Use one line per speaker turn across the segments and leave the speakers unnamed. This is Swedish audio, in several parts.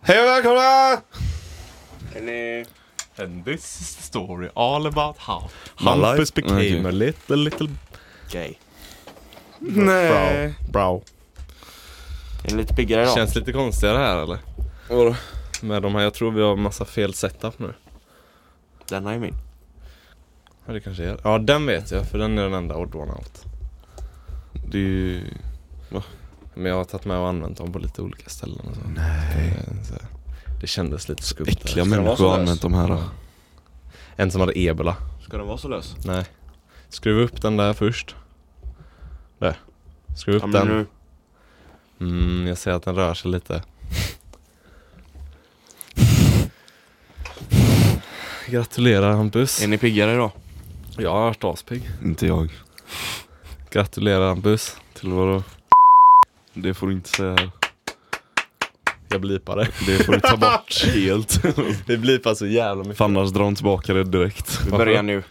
Hej och välkomna!
Eller...
And this is the story all about how
My life?
Hampus became
Okej.
a little, little gay.
Nej.
Bra.
Är det lite piggare idag?
Känns lite konstigare här eller?
Vadå?
Med de här, jag tror vi har massa fel setup nu.
Denna är min.
Ja det kanske är. Ja den vet jag för den är den enda odd one out.
Det är ju...
Men jag har tagit med och använt dem på lite olika ställen och så. Nej. Så, det kändes lite skumt. där.
äckliga
Ska de vara
människor
så
har
lös?
använt de här. då.
En som hade ebola.
Ska den vara så lös?
Nej. Skruva upp den där först. Där. Skruva upp
Ja, men
den.
nu.
Mm, jag ser att den rör sig lite. Gratulerar Hampus.
Är ni piggare idag?
Jag har varit aspigg.
Inte jag.
Gratulerar Hampus.
Till vadå? Det får du inte säga här.
Jag blipar det.
Det får du ta bort helt.
Det blipar så jävla mycket.
För annars drar de tillbaka det direkt.
Vi
Varför?
börjar nu.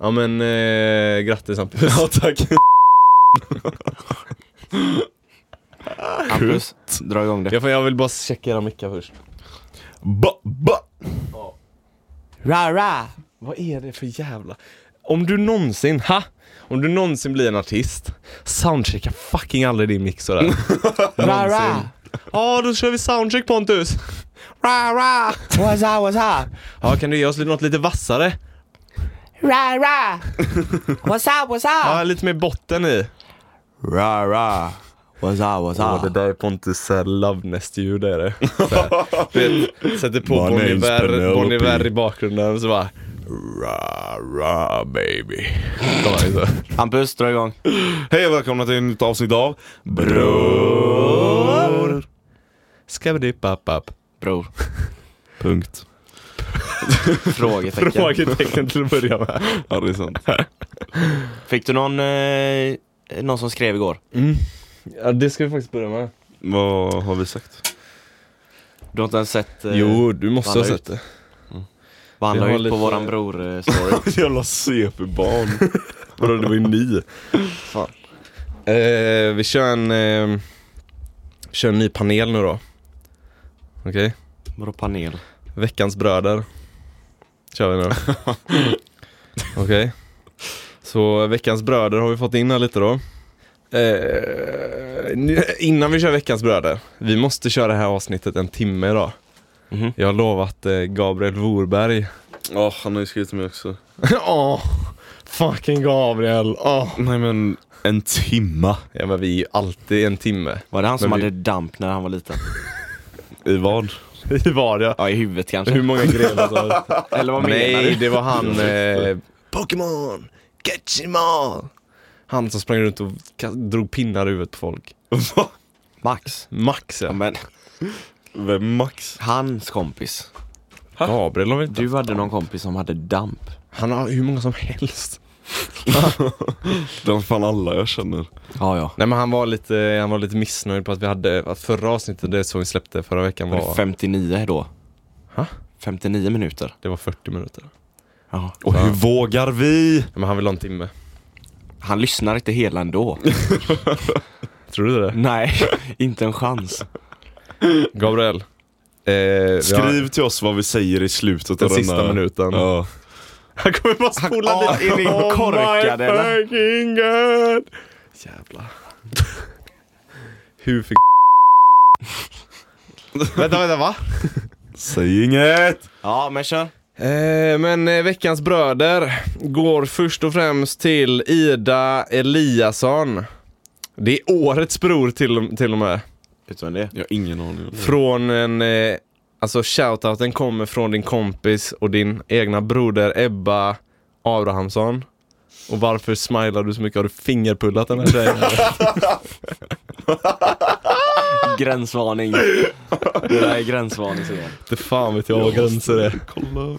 Ja men eh, grattis Hampus. Ja tack.
Hampus, dra igång det.
Jag, får, jag vill bara checka era mickar först.
Ba, ba!
Ra, ra.
Vad är det för jävla... Om du någonsin, ha! Om du någonsin blir en artist, soundchecka fucking aldrig din mix sådär.
Ra, ra.
Någonsin. Ja, då kör vi soundcheck Pontus! Ra, ra.
What's up, what's up?
Ja, kan du ge oss lite- något lite vassare?
Ra, ra. What's up, what's
Ja, lite mer botten i.
Ra, ra. What's up,
Åh,
what's
det
up?
där är Pontus eh, love nest ljud är det. Ah. Så här, du vet, sätter på
My
Bon
name's
Iver- Bon
Penelope.
Iver i bakgrunden så bara...
Ra, ra baby.
Kom här, liksom.
Hampus, dra igång.
Hej och välkomna till ett nytt avsnitt av Bror.
Skabbidi-papp-papp.
Bror.
Punkt.
Frågetecken.
Frågetecken till att börja med.
Ja det är sant.
Fick du någon, eh, någon som skrev igår?
Ja, det ska vi faktiskt börja med.
Vad har vi sagt?
Du har inte ens sett eh,
Jo, du måste ha
vandra
sett
ut.
det.
vad han la
vi har
ut på
lite-
våran eh, bror-story?
Jävla CP-barn.
Vadå, det var ju ni.
Fan.
Eh, vi kör en... Eh, vi kör en ny panel nu då. Okej?
Vadå panel?
Veckans bröder. Kör vi nu. Okej. Så veckans bröder har vi fått in här lite då. Eh, nu- innan vi kör veckans bröder. Vi måste köra det här avsnittet en timme idag.
Mhm.
Jag har lovat eh, Gabriel Vorberg.
Ja han har ju skrivit till mig också.
Åh, fucking Gabriel. Åh.
Nej men en timma.
Ja men vi är ju alltid en timme.
Var det han som
Men vi-
hade damp när han var liten?
I vad?
I vardag.
Ja, i huvudet kanske.
Hur många grenar som helst.
Eller vad menar
Nej,
du?
det var han... Eh, Pokémon! Gatchimon! Han som sprang runt och ka- drog pinnar i huvudet på folk.
Max.
Max
Ja,
ja.
men
Vem Max?
hans kompis.
Gabriel har väl inte...
Du hade någon kompis som hade damp.
Han har hur många som helst.
De fan alla jag känner.
Ja, ja.
Nej men han var lite, han var lite missnöjd på att vi hade, att förra avsnittet, det som vi släppte förra veckan
Var det
var,
59 då?
Ha?
59 minuter.
det var 40 minuter.
Ja.
Och hur vågar vi?
Ja, men han vill ha en timme.
Han lyssnar inte hela ändå.
Tror du det?
Nej, inte en chans.
Gabriel. Eh, vi har-
Skriv till oss vad vi säger i slutet
Den
av denna...
sista minuten.
Ja.
Han kommer bara spola
Han-
dit in i
Oh my
korkad eller? fucking god! Jävlar. Hur fick... vänta, vänta va?
Säg inget!
Ja, men kör.
Eh, men eh, veckans bröder går först och främst till Ida Eliasson. Det är årets bror till, till och med.
Utan det.
Jag har ingen aning om det.
Från en... Eh, alltså shoutouten kommer från din kompis och din egna broder Ebba Abrahamsson. Och varför smilar du så mycket? Har du fingerpullat den här tjejen?
Gränsvarning. Det där är gränsvarning. säger jag.
Inte fan vet jag vad gränser är. Eh,
Kolla.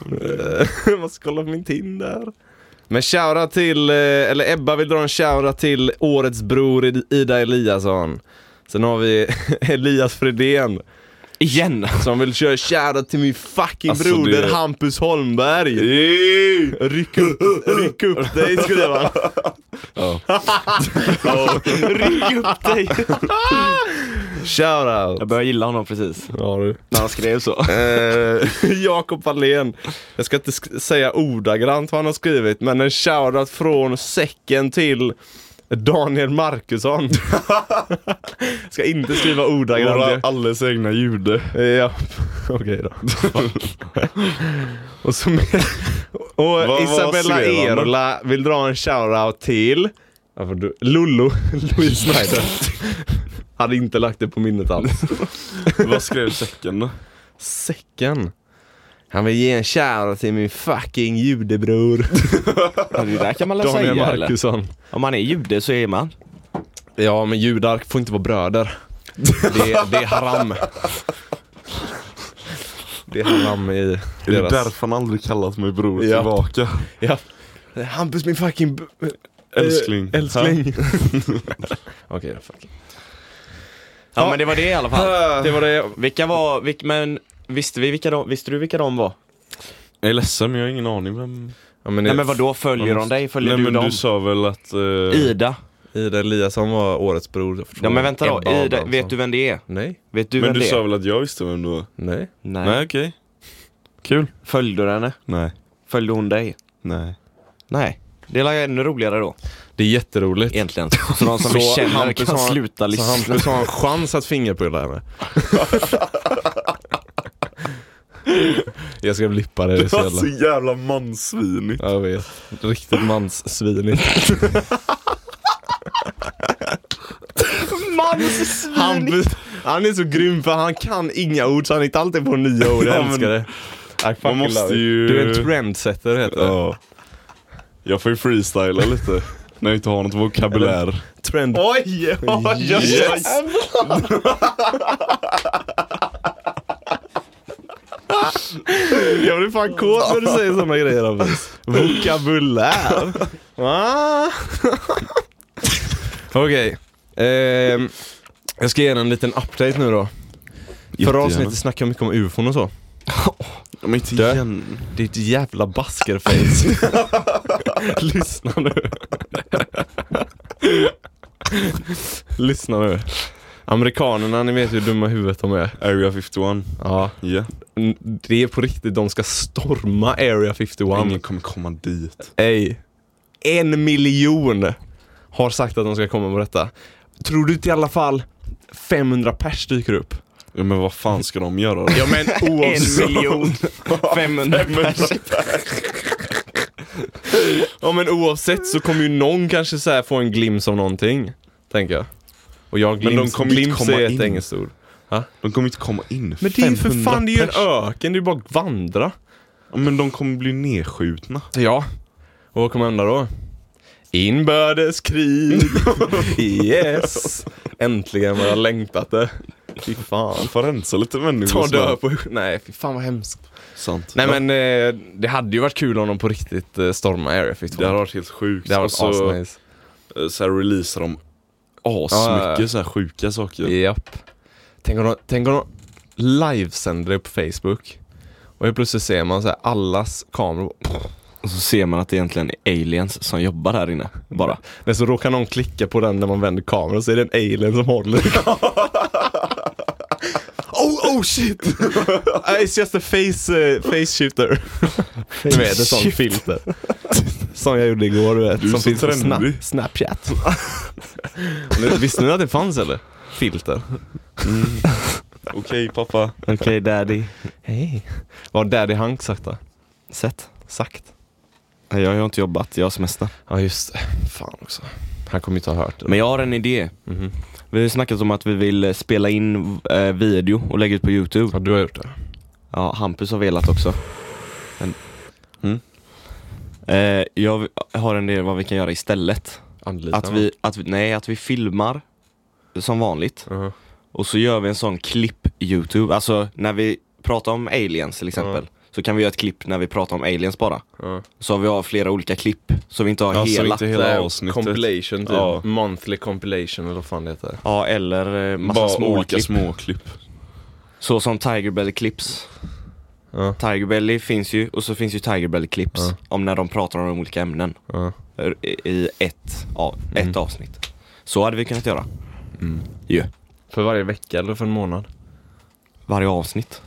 Jag måste kolla på min Tinder. Men shoutout till, eh, eller Ebba vill dra en shoutout till årets bror Id- Ida Eliasson. Sen har vi Elias Fredén
Igen!
som vill köra shoutout till min fucking
Alltså,
broder
det-
Hampus Holmberg. Ryck upp, ryck upp dig skrev han.
Ja.
Ryck upp dig! Jag
Shoutout!
började gilla honom precis,
Ja, du.
när han skrev så.
Eh, Jakob Wallén. Jag ska inte sk- säga ordagrant vad han har skrivit, men en shoutout från säcken till Daniel Markusson. ska inte skriva
Våra
ordagrant.
alldeles egna jude.
Eh, Ja, okej då. och så med, och
vad
Isabella
skrev han då?
Erola vill dra en shoutout till Ja, för du- Lollo, Louise Schneider. Hade inte lagt det på minnet alls.
Vad skrev säcken då?
Säcken. Han vill ge en shoutout till min fucking judebror.
Ja, Det där kan man väl
Daniel
säga eller?
Markusson.
Om man är jude så är man.
Ja, men judar får inte vara bröder. Det, det är haram. Det är haram i
Är det
deras...
därför han aldrig kallat mig bror
Ja.
tillbaka?
Ja. Hampus min fucking... b-
Älskling.
eh, Älskling. Okej då, fuck.
Ja
Ja.
men det var det i alla fall.
Det var det.
Vilka var, vilk, men visste vi vilka de, visste du vilka de var?
Jag är ledsen men jag har ingen aning vem...
Ja, men
Nej men vadå, följer de dig? Följer
Nej
du
men
dem?
du sa väl att... eh,
Ida.
Ida Eliasson var årets bror.
Ja men vänta då,
Ebba
Ida,
Abrahamsson.
vet du vem det är?
Nej.
Vet du
men
vem
du
det
sa
är?
väl att jag visste vem du var?
Nej.
Nej.
Nej, okej. Kul.
Följde du henne?
Nej.
Följde hon dig?
Nej.
Nej. Det är ännu roligare då,
Det är jätteroligt.
egentligen. Så någon som
Så
vi känner
Hampus
kan
har-
sluta
Så
lyssna.
Hampus har en chans att fingerpulla henne. jag ska blippa det, det är så jävla...
jävla mansvinigt.
Ja, Jag vet. Riktigt manssvinigt. Hampus, han är så grym för han kan inga ord så han hittar alltid på nya ord.
Ja,
Jag
men-
älskar det. I fucking
måste
love it.
ju-
Du är en trendsetter heter det.
Ja. Jag får ju freestyla lite. När jag inte har något vokabulär.
Trend...
Oj!
oj, oj. Jag blir fan kåt när du säger sådana grejer Hampus. Vokabulär. Va? Okej. Ehm, jag ska ge er en liten update nu då. Förra
Jättegärna.
avsnittet snackade jag mycket om ufon och så.
Men inte
Dö.
igen.
Ditt jävla baskerface. Lyssna nu. Lyssna nu. Amerikanerna, ni vet hur dumma huvudet de är.
Area 51.
Ja.
Ja.
N- Det är på riktigt, de ska storma Area 51.
Ingen kommer komma dit.
Ej. En miljon har sagt att de ska komma på detta. Tror du inte i alla fall 500 pers dyker upp?
Ja, men vad fan ska de göra då?
Ja men
En miljon 500 pers.
Ja men oavsett så kommer ju någon kanske så här få en glimt av någonting. Tänker jag. Och jag
de
glimt, men
kommer
de kommer
inte
glimt
komma
är ett
in.
engelskt ord.
De kommer inte komma in.
Men det är ju för
500
fan, det är ju
pers.
en öken, det är ju bara att vandra.
Ja, Men de kommer bli nedskjutna.
Ja. Och vad kommer hända då? Inbördeskrig! yes! Äntligen vad jag längtat det. Fy fan.
Man får rensa lite människor.
Ta
som är-
död på... Nej, fy fan vad hemskt.
Sant.
Nej men eh, det hade ju varit kul om de på riktigt eh, stormade Area 51.
Det hade varit helt sjukt.
Det hade
och
varit
så,
asnice.
eh, så här releasar de
Ja, ja,
asmycket
ja.
så här sjuka saker.
Japp. Tänk om de, tänk om de livesänder det på Facebook. Och helt plötsligt ser man så här allas kameror.
Och så ser man att det egentligen är aliens som jobbar här inne, bara.
Men så råkar någon klicka på den när man vänder kameran så är det en alien som håller i kameran. Oh, oh shit! Uh, It's just a face, eh, face shifter. Du vet, ett sånt filter. Som jag gjorde igår, du vet.
Du är
som
så
finns på
trendig.
Snap- Snapchat. Nu- Visste ni att det fanns eller? Filter.
Okej pappa.
Okej daddy.
Hej. Vad har Daddy Hank sagt då?
Sett?
Sagt?
Nej, Jag har inte jobbat, jag har semester.
Ja just det. Fan också. Han kommer inte ha hört det.
Men jag har en idé.
Mhm.
Vi har ju snackat om att vi vill eh, spela in eh, video och lägga ut på
Ja,
youtube.
du har gjort det.
Ja, Hampus har velat också. Men...
Mm.
Eh, jag v- har en idé vad vi kan göra istället.
Anlita
Att vi, att vi, nej, att vi filmar som vanligt
uh
och så gör vi en sån klipp-youtube. Alltså när vi pratar om aliens till exempel. Så kan vi göra ett klipp när vi pratar om aliens bara. Så har vi har flera olika klipp, så vi inte har
Ja, så
hela.
Alltså, inte hela avsnittet.
Compilation typ.
Ja.
Monthly compilation eller vad fan det heter.
Ja, eller eh, massa
Bara
små
olika
klipp.
småklipp.
Så som Tiger Belly Clips.
Ja.
Tiger Belly finns ju, och så finns ju Tiger Belly Clips
Ja.
om när de pratar om de olika ämnen
Ja.
Er- i i ett, ja, ett
Mm.
avsnitt. Så hade vi kunnat göra.
Mm.
Ju.
För varje vecka eller för en månad?
Varje avsnitt.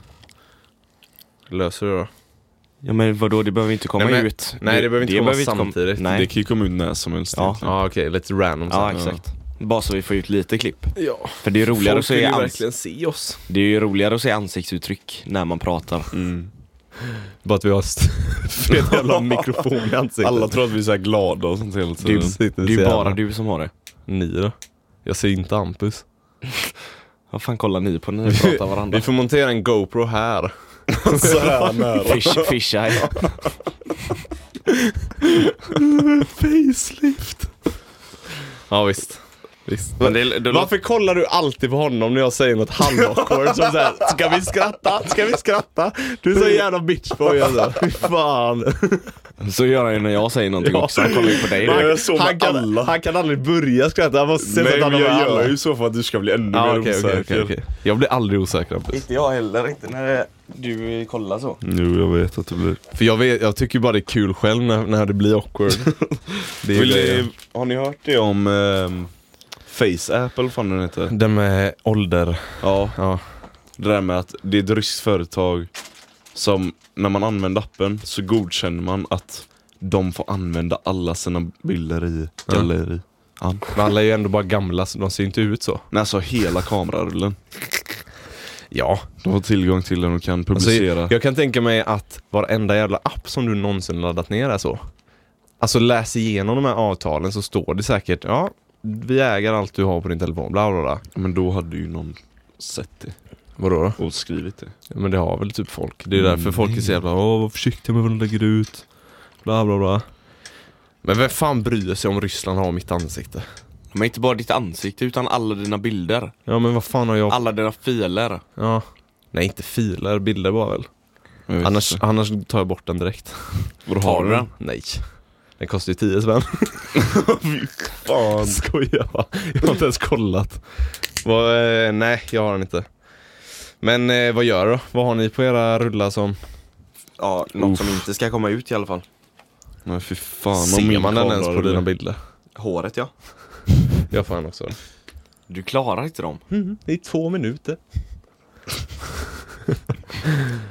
Löser du det då?
Ja men vadå, det behöver inte komma
Nej, men-
ut.
nej, det behöver inte komma samtidigt.
nej.
Det kan ju komma ut när som helst
Ja.
egentligen.
Ja okej, lite random
ja
så här.
exakt. Bara så vi får ut lite klipp.
Ja.
För det är, roligare att
Folk vill
se
ju
ans-
verkligen se oss.
det är ju roligare att se ansiktsuttryck när man pratar.
Mm.
Bara att vi har st- fet jävla mikrofon i ansiktet.
Alla tror att vi är så här glada och sånt hela
Det är
tiden.
ju det är ju bara du som har det.
Ni då? Jag ser inte Hampus.
Vad fan kollar ni på när ni pratar varandra?
Vi får montera en GoPro här.
så här nära.
Fish, fisheye.
Facelift.
Ja visst. visst.
Men det, det låter-
Varför kollar du alltid på honom när jag säger något halvawkward som såhär Ska vi skratta? Ska vi skratta? Du är så jävla bitchboy alltså. Fy fan.
så gör han ju när jag säger någonting
Ja.
också. Han kollar ju på dig.
Men
direkt.
jag såg
han,
med
kan,
alla.
han kan aldrig börja skratta, han måste se
Nej
så
men
att han
jag
har
gör
alla.
ju så för att du ska bli ännu
Ja,
mer
okej, okej,
osäker.
okej, okej. Jag blir aldrig osäker Hampus.
Inte jag heller, inte när du kollar så.
Jo jag vet att det blir.
För jag, vet, jag tycker bara det är kul själv när, när det blir awkward. Det är
Vill
det.
ni, har ni hört det om ehm, FaceApp eller vad fan den heter?
Den med ålder.
Ja.
Ja.
Det där med att det är ett ryskt företag som när man använder appen så godkänner man att de får använda alla sina bilder i galleri.
Men alla är ju ändå bara gamla så de ser ju inte ut så.
Nej alltså hela kamerarullen.
Ja.
De har tillgång till den och kan
Alltså,
publicera.
jag kan tänka mig att varenda jävla app som du någonsin laddat ner är så. Alltså läs igenom de här avtalen så står det säkert, ja, vi äger allt du har på din telefon, bla bla bla.
Men då hade ju någon sett det
Vadå då?
och skrivit det.
Ja, Men det har väl typ folk. Det är
Mm.
därför folk är så jävla, åh var försiktig med vad du lägger ut. Bla bla bla. Men vem fan bryr sig om Ryssland har mitt ansikte?
Men inte bara ditt ansikte utan alla dina bilder.
Ja men vad fan har jag?
Alla dina filer.
Ja. Nej inte filer, bilder bara väl.
Jag vet
Annars,
inte.
annars tar jag bort den direkt.
Vadå,
Tar du den?
Nej. Den kostar ju 10 spänn.
Fan.
Skojar va? Jag har inte ens kollat. Vad, eh, nej, jag har den inte. Men eh, vad gör du då? Vad har ni på era rullar som...
Ja, något som inte ska komma ut i alla fall.
Men fy fan om
Ser
min
man den ens på
kamerarulle-
dina bilder?
Håret ja.
Jag får den också.
Du klarar inte dem.
Det är två minuter.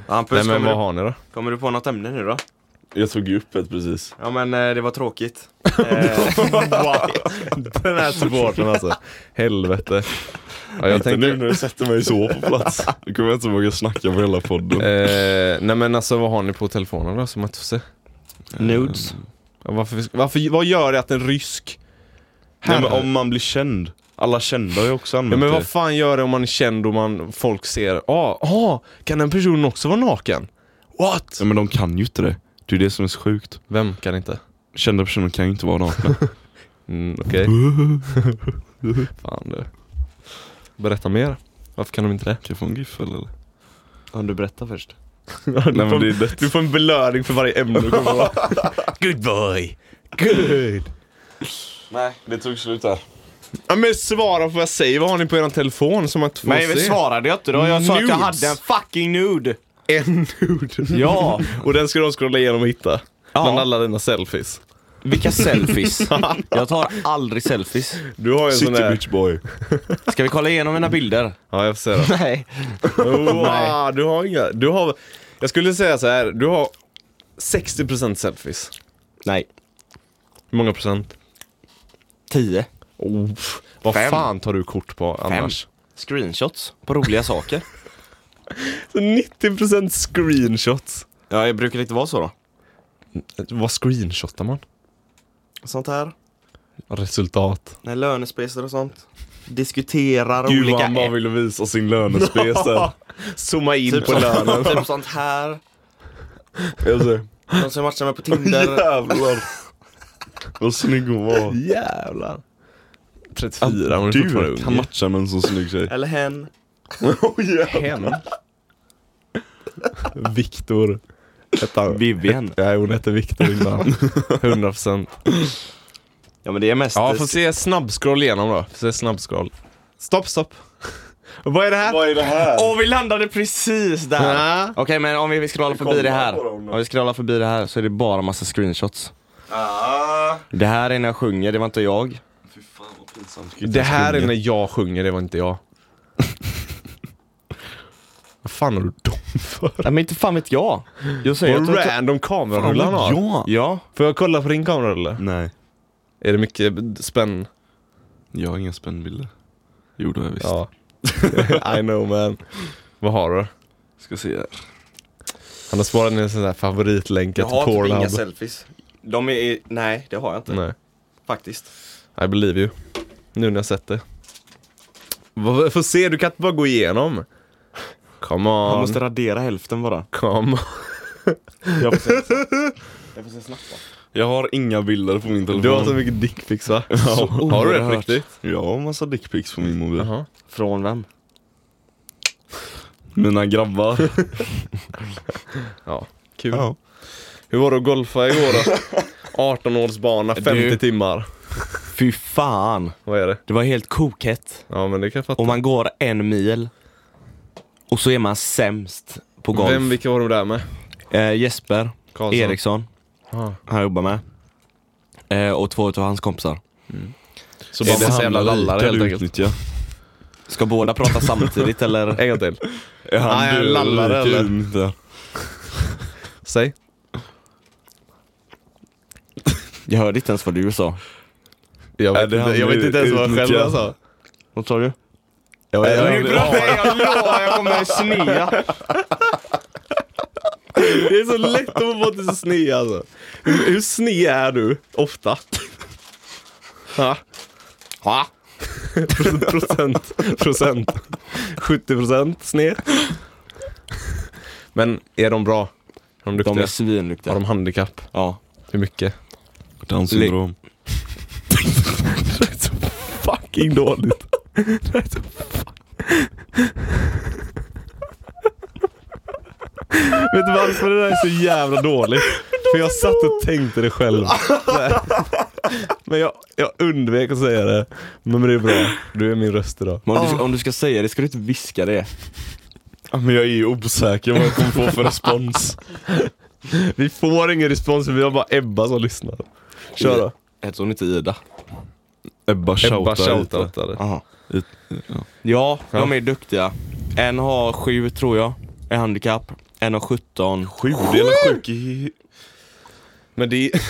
Hampus,
Nej men
kommer,
vad
du,
har ni då?
kommer du på något ämne nu då?
Jag tog ju upp ett precis.
Ja men eh, det var tråkigt. Eh,
den här supporten alltså. Helvete. Ja, jag
Inte nu
tänkte...
när du sätter mig så på plats. Då kommer jag inte våga snacka på hela podden.
Eh, nej men alltså vad har ni på telefonen då som man inte får se?
Nudes.
Ja, Varför, varför, vad gör det att en rysk...
Nej, men om man blir känd. Alla kända har ju också
Ja,
använt
men vad
det.
fan gör det om man är känd och man, folk ser, ah, ah, kan den personen också vara naken? What?
Ja, men de kan ju inte det. Det är ju det som är så sjukt.
Vem kan inte?
Kända personer kan ju inte vara nakna.
Mm, Okej. fan du. Berätta mer. Varför kan de inte det?
Kan jag få en giffel eller?
Om du berättar först.
Nej men det är det.
Du får en belöning för varje ämne du kommer på. Good boy. Good.
Nej.
Det tog slut där.
Ja, men svara på vad jag säger. Vad har ni på er telefon som att få
Men jag
se?
svarade jag inte då. Jag sa att jag
Nudes.
hade en fucking nude.
En nude.
Ja.
Och den ska de scrolla igenom och hitta. Bland alla dina selfies.
Vilka selfies? Jag tar aldrig selfies.
Du har ju en sån
City
där...
bitch boy.
Ska vi kolla igenom mina bilder?
Ja, jag får se då.
Nej.
Wow, du har inga, du har, jag skulle säga så här, du har 60% selfies.
Nej.
Hur många procent?
Tio.
Oh, vad
Fem.
fan tar du kort på annars?
Screenshots på roliga saker.
Så 90% screenshots.
Ja, jag brukar inte vara så då.
Vad screenshotar man?
Sånt här.
Resultat.
Nej, lönespecer och sånt. Diskuterar
Gud vad
olika...
han bara ville visa sin lönespec där.
Zooma in
Typ,
på lönen.
sånt, typ sånt här.
Jag ser.
De som jag matchar med på Tinder.
Jävlar. Vad snygg hon var.
Jävlar. 34 om du fortfarande är
han
ung.
matchar med en så snygg tjej.
Eller hen.
Hen. Viktor. Hette han?
Vivian.
Nej, hon hette Viktor innan. 100%.
Ja men det är mest...
Ja, får se snabbscroll igenom då. Får se snabbscroll. Stopp, stopp. Vad är det här?
Vad är det här?
Åh vi landade precis där!
Ja.
Okej men om vi, vi scrollar förbi
kollar
det här.
på dem då.
Om vi scrollar förbi det här så är det bara massa screenshots.
Ah.
Det här är när jag sjunger, det var inte jag.
Fy fan vad pinsamt.
Det här är när jag sjunger, det var inte jag.
Vad fan har du dem för?
Nej men inte fan vet jag. Jag säger
Vad
att jag
Fan,
random kamerarullar han har.
ja.
Ja.
Får jag kolla på din kamera eller?
Nej,
Är det mycket spänn?
jag har inga spännbilder. Jo det har jag visst.
Ja. I know man. Vad har du?
Ska se här.
Han har sparat ner sina favoritlänk till
Jag har typ inga
Pornhub.
selfies. De är, nej det har jag inte
Nej,
faktiskt.
I believe you. Nu när jag sett det. Vad- Får se, du kan inte bara gå igenom. Come
Han
on.
måste radera hälften bara.
Come on.
Jag får se, jag får se snabbt.
Jag har inga bilder på min telefon.
Du har så mycket dickpics va?
Ja.
har du det på
oerhört.
riktigt?
Jag har massa dickpics på min mobil.
Jaha.
Från vem?
Mina grabbar.
Ja, kul. Hur var det att golfa igår då? 18-årsbana, 50
Du-
timmar.
Fy fan.
Vad är det?
Det var helt kokett.
Ja men det kan jag fatta.
Om man går en mil och så är man sämst på golf.
Vem, Alltså. vilka var de där med?
Eh, Jesper
Karlsson.
Eriksson,
Ah.
han jobbar med. Eh, och två utav hans kompisar.
Så bara massa jävla lallare helt enkelt.
Utnyttja.
Ska båda prata samtidigt eller?
En gång till.
Är han
Nej,
Nej,
jag lallar
lallare
eller?
eller?
Säg.
Jag hörde inte ens vad du sa.
Jag
Är
vet,
det
inte,
han
jag vet inte ens vad jag
utnyttjar?
själv alltså. sa.
Vad sa du? Jag, jag, jag, lovar, jag kommer snea.
Det är så lätt att få bort det så sned alltså. Hur, hur sned är du ofta? Ha?
Ha?
Procent. Procent. 70 procent sned. Men är de bra? Är de duktiga?
De är
Har
svinduktiga.
de handikapp?
Ja.
Hur mycket?
Down syndrom.
Det är så fucking dåligt. Det är så Vet du varför det där är så jävla dåligt? För jag satt och tänkte det själv. Men jag, jag undvek att säga det. Men det är bra. Du är min röst idag.
Men om, du, om du ska säga det ska du inte viska det.
Ja, men jag är ju osäker vad jag kommer få för respons.
Vi får ingen respons, vi har bara Ebba som lyssnar. Kör då.
Hette hon inte Ida?
Ebba
Ebba
shoutar lite.
shoutoutade.
Aha.
Ut- ja.
Ja, de är duktiga. En har sju tror jag, är handikapp. En har 17.
Sju, det är sjuk i...
Men det är...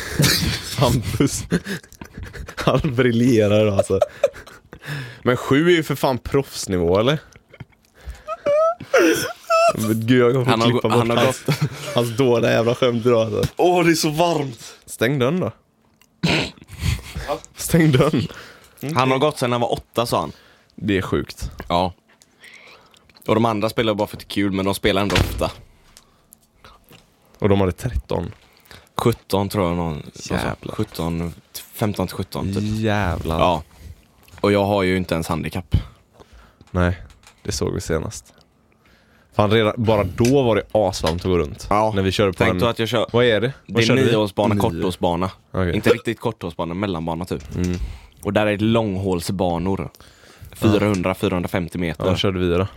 Hampus. Han briljerar alltså. Men sju är ju för fan proffsnivå eller? Men gud jag kommer
Han
få klippa
har,
bort
han har
hans,
gått...
hans dåliga jävla skämt idag alltså.
Åh, det är så varmt!
Stäng dörren då. Stäng dörren.
Han har gått sedan han var åtta sa han.
Det är sjukt.
Ja. Och de andra spelar bara för att det är kul, men de spelar ändå ofta.
Och de hade 13.
17 tror jag någon som sa.
Jävlar.
17, 15 till 17 typ.
Jävlar.
Ja. Och jag har ju inte ens handikapp.
Nej, det såg vi senast. Fan redan, bara då var det asvarmt att gå runt.
Ja.
När vi körde på
Tänk
den.
då att jag kör,
Vad är det?
det
Vad
är
körde vi?
niohålsbana,
Nio.
korthålsbana.
Okej.
Inte riktigt korthålsbana, mellanbana typ. Och där är det långhålsbanor. 400-450
Ja, vad
meter.
körde vi då?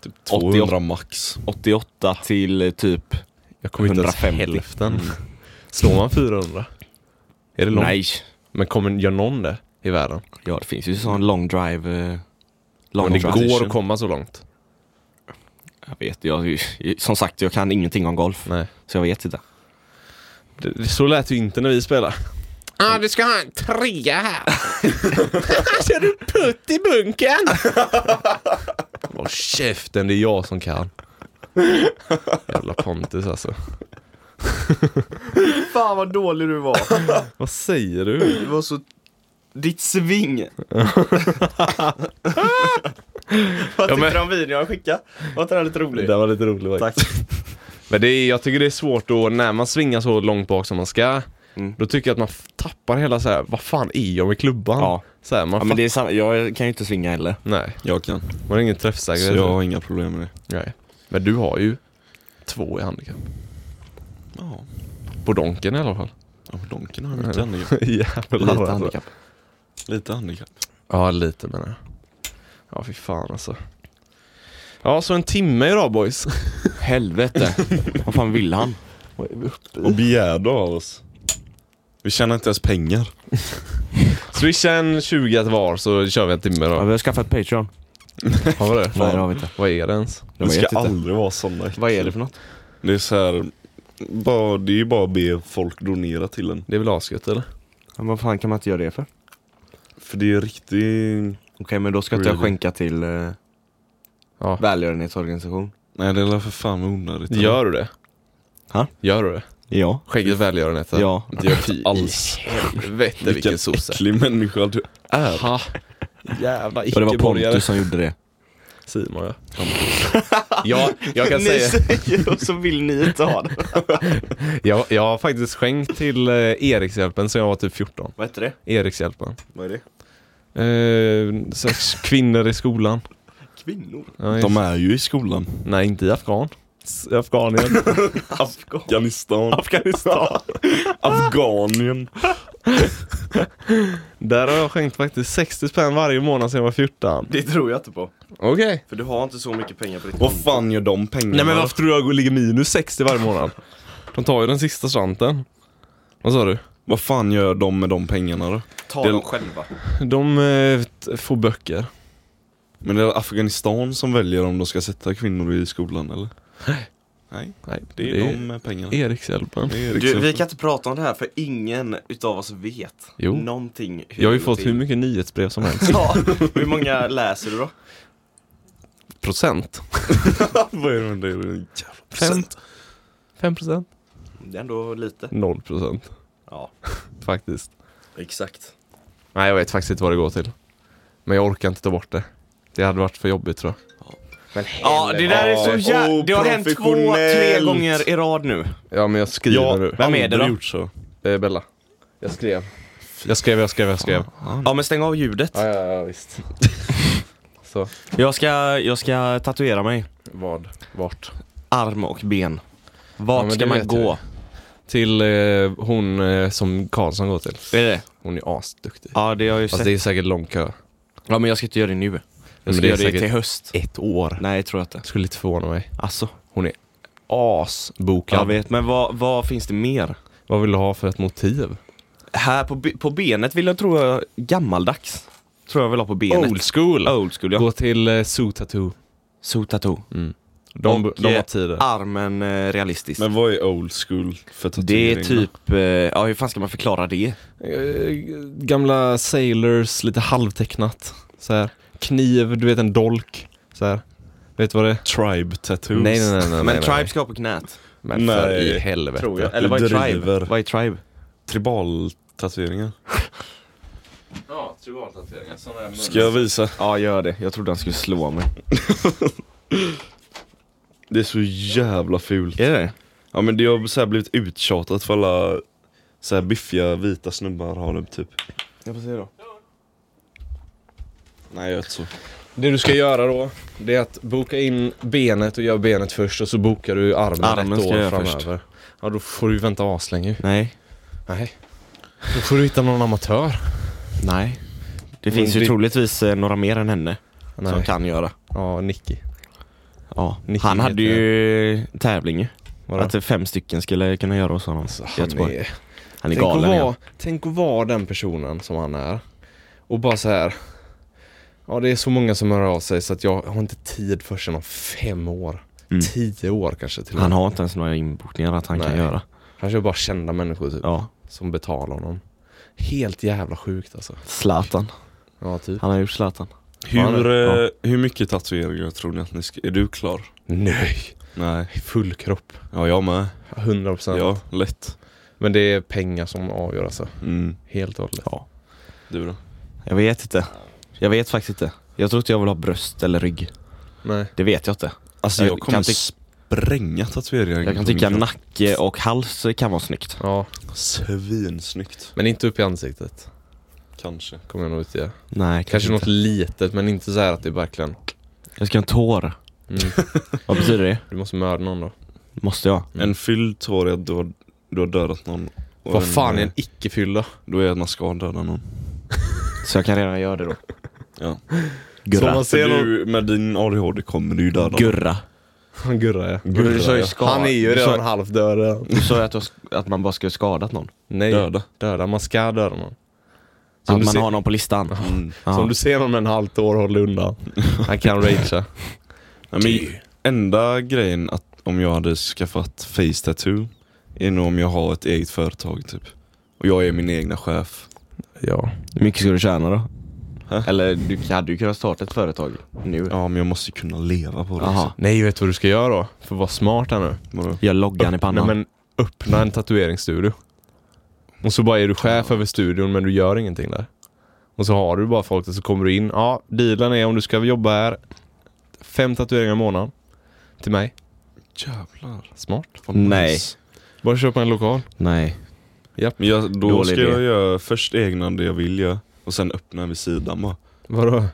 Typ 200 max.
88 till eh, typ...
Jag kommer inte ens
150.
hälften. Slår man 400? Är det långt?
Nej,
Men kommer, gör någon det i världen?
ja det finns ju sån long drive... eh, Long
Men det
drive.
går att komma så långt.
Jag vet, jag, som sagt jag kan ingenting om golf.
Nej.
Så jag vet inte.
Det, det, så lät ju inte när vi spelade. Ah, du ska ha en trea här. Kör du putt i bunken? Håll käften, det är jag som kan. Jävla Pontus alltså.
Fan vad dålig du var.
Vad säger du?
Det var så... Ditt sving! Vad
Ja, men-
du om videon jag skickade? Var inte den lite
Det
rolig?
där var lite roligt.
Tack.
Men det är, jag tycker det är svårt då när man svingar så långt bak som man ska.
Mm.
Då tycker jag att man f- tappar hela så här, vad fan är jag med klubban?
Ja.
Så här, man
Ja men det är samma, jag kan ju inte svinga heller.
fatt- Nej,
Jag kan.
man har ingen
Så
träffsäkerhet.
jag har inga problem med det.
Nej. Men du har ju två i handikapp.
Ja,
På donken i alla fall.
ja men donken har mycket handikapp.
Jävlar
Lite
alltså.
handikapp.
Lite handikapp.
Ja, lite menar jag. Ja, fy fan alltså. Ja, så en timme idag boys.
Helvete. Vad fan vill han?
Och begär du av oss? Vi tjänar inte ens pengar.
Swisha en 20 att var så kör vi en timme
Ja,
idag.
vi har skaffat Patreon.
Har vi det?
Nej det har vi inte.
Vad är det ens?
Det var
ska
jättete.
aldrig vara sådana.
Vad är det för något?
Det är så här, bara, det är ju bara att be folk donera till en.
Det är väl asgött eller?
Ja, vad fan kan man inte göra det för? Okej
För det är riktigt...
men då ska inte jag
Really?
skänka till eh,
Ja.
välgörenhetsorganisation.
Nej det är väl för fan onödigt.
Gör du det?
Ha?
Gör du det?
Ja.
Skägget välgörenheten?
Ja.
Det gör fy
Alls.
i helvete
Vilken,
vilken sosse.
äcklig människa typ. du är.
Ha. Jävla
Och det var
icke-borgare.
Pontus som gjorde det.
Simon ja. ja, jag kan
Ni
säga,
säger och så vill ni inte ha det.
jag, jag har faktiskt skänkt till eh, Erikshjälpen sen jag var typ 14.
Vad heter det?
Erikshjälpen.
Vad är det?
Eh, så här, kvinnor i skolan.
Kvinnor?
Ja, just-
De är ju i skolan.
Nej, inte i Afghan. S- Afghanien.
Afghanistan.
Afghanistan.
Afghanien.
Där har jag skänkt faktiskt 60 spänn varje månad sen jag var 14.
Det tror jag inte på.
Okej.
För du har inte så mycket pengar på ditt
Vad fan gör de pengarna?
Nej men varför tror du jag ligger minus 60 varje månad? De tar ju den sista slanten. Vad sa du?
Vad fan gör de med de pengarna då?
Ta
Det-
dem själva.
De eh, t- får böcker.
Men det är Afghanistan som väljer om de ska sätta kvinnor i skolan eller? Nej.
Nej,
Det är de med pengarna.
Erikshjälpen.
Det är
Du,
liksom-
vi kan inte prata om det här för ingen utav oss vet
Jo.
någonting. hur
Jag har ju
det går
fått
till.
hur mycket nyhetsbrev som helst.
Ja, hur många läser du då?
Procent.
Vad är det med det? Det är en jävla procent.
5 procent?
Det är ändå lite.
0 procent
Ja,
faktiskt.
exakt.
Nej jag vet faktiskt inte vad det går till. Men jag orkar inte ta bort det. Det hade varit för jobbigt tror jag.
Ja, det där är så jävla...
Åh,
Det har hänt två, tre
professionellt.
gånger i rad nu.
Ja men jag skriver
Ja,
nu.
Vem är det då?
aldrig Gjort så.
Eh, Bella. Jag skrev. Jag skrev, jag skrev, jag skrev.
Ja, men stäng av ljudet.
Ja, ja, ja visst. Så.
Jag ska, jag ska tatuera mig.
Vad? Vart?
Arm och ben.
Ja,
Vart
men
ska
det
man
vet
gå?
Till eh, hon eh, som Karlsson går till.
Är det
Hon är asduktig.
Ja, det har jag ju
Fast
sett.
det är säkert lång kö.
Ja, men jag ska inte göra det nu. Jag
Men
ska
det är
göra det
säkert-
till höst.
Ett år.
Nej, jag tror jag inte.
Skulle inte förvåna mig.
Alltså,
Hon är asbokad.
jag vet. Men vad, vad finns det mer?
Vad vill du ha för ett motiv?
Här på, be- på benet vill jag tro jag gammaldags. Tror jag vill ha på benet.
school.
Old school ja.
Gå till eh, Zoo Tattoo.
So tattoo.
Mm. De,
Och,
de
eh,
har tider.
Armen eh, realistisk.
Men vad är old school för tatuering?
det är
då?
typ, eh, ja hur fan ska man förklara det?
Eh, Gamla sailors, lite halvtecknat. Så här. Kniv, du vet en dolk. Så här. Vet du vad det är?
Tribe tattoos.
Nej, nej, nej, nej,
Men
nej,
tribe ska på knät.
Men för
Nej.
i helvete.
Tror jag. Eller vad
Du
är tribe?
driver.
Vad är tribe?
Tribal tatueringar.
Ja, tribaltatueringar. Sådana där
Ska jag visa?
Ja gör det, jag trodde han skulle slå mig.
Det är så jävla fult.
Är det
Ja men det har så här blivit uttjatat för alla så här biffiga vita snubbar har det typ.
Jag får se då.
Nej jag är så.
Det du ska göra då, det är att boka in benet och gör benet först och så bokar du armen,
Armen
ett
ska
år
jag göra
framöver.
först.
Ja, då får du vänta aslänge ju.
Nej.
Nej. Då får du hitta någon amatör.
Nej. Det finns ju
det-
troligtvis eh, några mer än henne som
Nej.
kan göra.
Ja, Nicky.
Ja.
Nicky
Han hade
heter-
ju tävling ju.
Vadå?
Att fem stycken skulle kunna göra hos honom. Göteborg.
är,
Han Alltså, är
tänk, att
galen ja.
vara, tänk att vara den personen som han är. Och bara så här. Ja, det är så många som hör av sig så att jag har inte tid förrän om fem år.
Mm.
Tio år kanske till och
Han
med.
har inte ens några inbokningar att han kan
Nej.
göra.
Han kör bara kända människor typ,
Ja.
som betalar honom. Helt jävla sjukt alltså.
Zlatan.
Ja, typ.
Han har gjort Zlatan.
Hur,
Ja.
eh, hur mycket tatueringar tror ni att ni ska... Är du klar?
Nej!
Nej.
Full kropp.
Ja jag med.
100 procent.
Ja, lätt.
Men det är pengar som avgör alltså.
Mm.
Helt och hållet.
Ja.
Du då?
Jag vet inte. Jag vet faktiskt inte. Jag tror inte jag vill ha bröst eller rygg.
Nej.
Det vet jag inte.
Alltså
Jag
jag,
kan
kommer
tyck-
spränga tatueringar.
Jag kan tycka nacke och hals kan vara snyggt.
Ja.
Svinsnyggt.
Men inte upp i ansiktet.
Kanske.
Kommer jag nog inte göra.
Nej, kanske,
Kanske
inte.
något litet men inte så här att det är verkligen...
Jag ska ha en tår.
Mm.
Vad betyder det?
Du måste mörda någon då.
Måste jag?
Mm.
En fylld tår är att du har, du har dödat någon. Och
Vad fan är
eh,
en icke-fyll då?
Då är det att man ska döda någon.
Så jag kan redan göra det då.
Ja.
Gurra.
Som man
För
ser någon...
du, med din ADHD kommer du ju döda någon.
Gurra.
Han gurrar ja.
Gurra,
Du sa ju
ja.
skada. du sa,
halvdöd redan.
du sa ju att, du har sk- att man bara skulle skadat någon.
Nej.
Döda.
Döda. Man ska döda någon.
Att
du
man
ser-
har någon på listan.
Mm.
Ja.
Som du ser någon med en halvt år, håll undan. Han kan ragea.
Nej, men enda grejen att om jag hade skaffat face tattoo är nog om jag har ett eget företag typ. Och jag är min egna chef.
Ja.
Hur mycket ska du tjäna då?
Hä?
Eller du hade ju kunnat starta ett företag nu.
Ja men jag måste kunna leva på det.
Jaha.
Nej, vet du vad du ska göra då? För att vara smart här nu.
Vadå?
Gör loggan i
Nej,
pannan.
men öppna en tatueringsstudio. Och så bara är du chef över studion men du gör ingenting där. Och så har du bara folk där så kommer du in. Ja, dealen är om du ska jobba här, fem tatueringar i månaden. Till mig.
Jävlar.
Smart.
Vad
Nej.
nice.
Bara köpa en lokal.
Nej.
Men jag, då
Dålig
ska
idé.
jag göra först egna det jag vill göra och sen öppna vid sidan bara.
Vadå?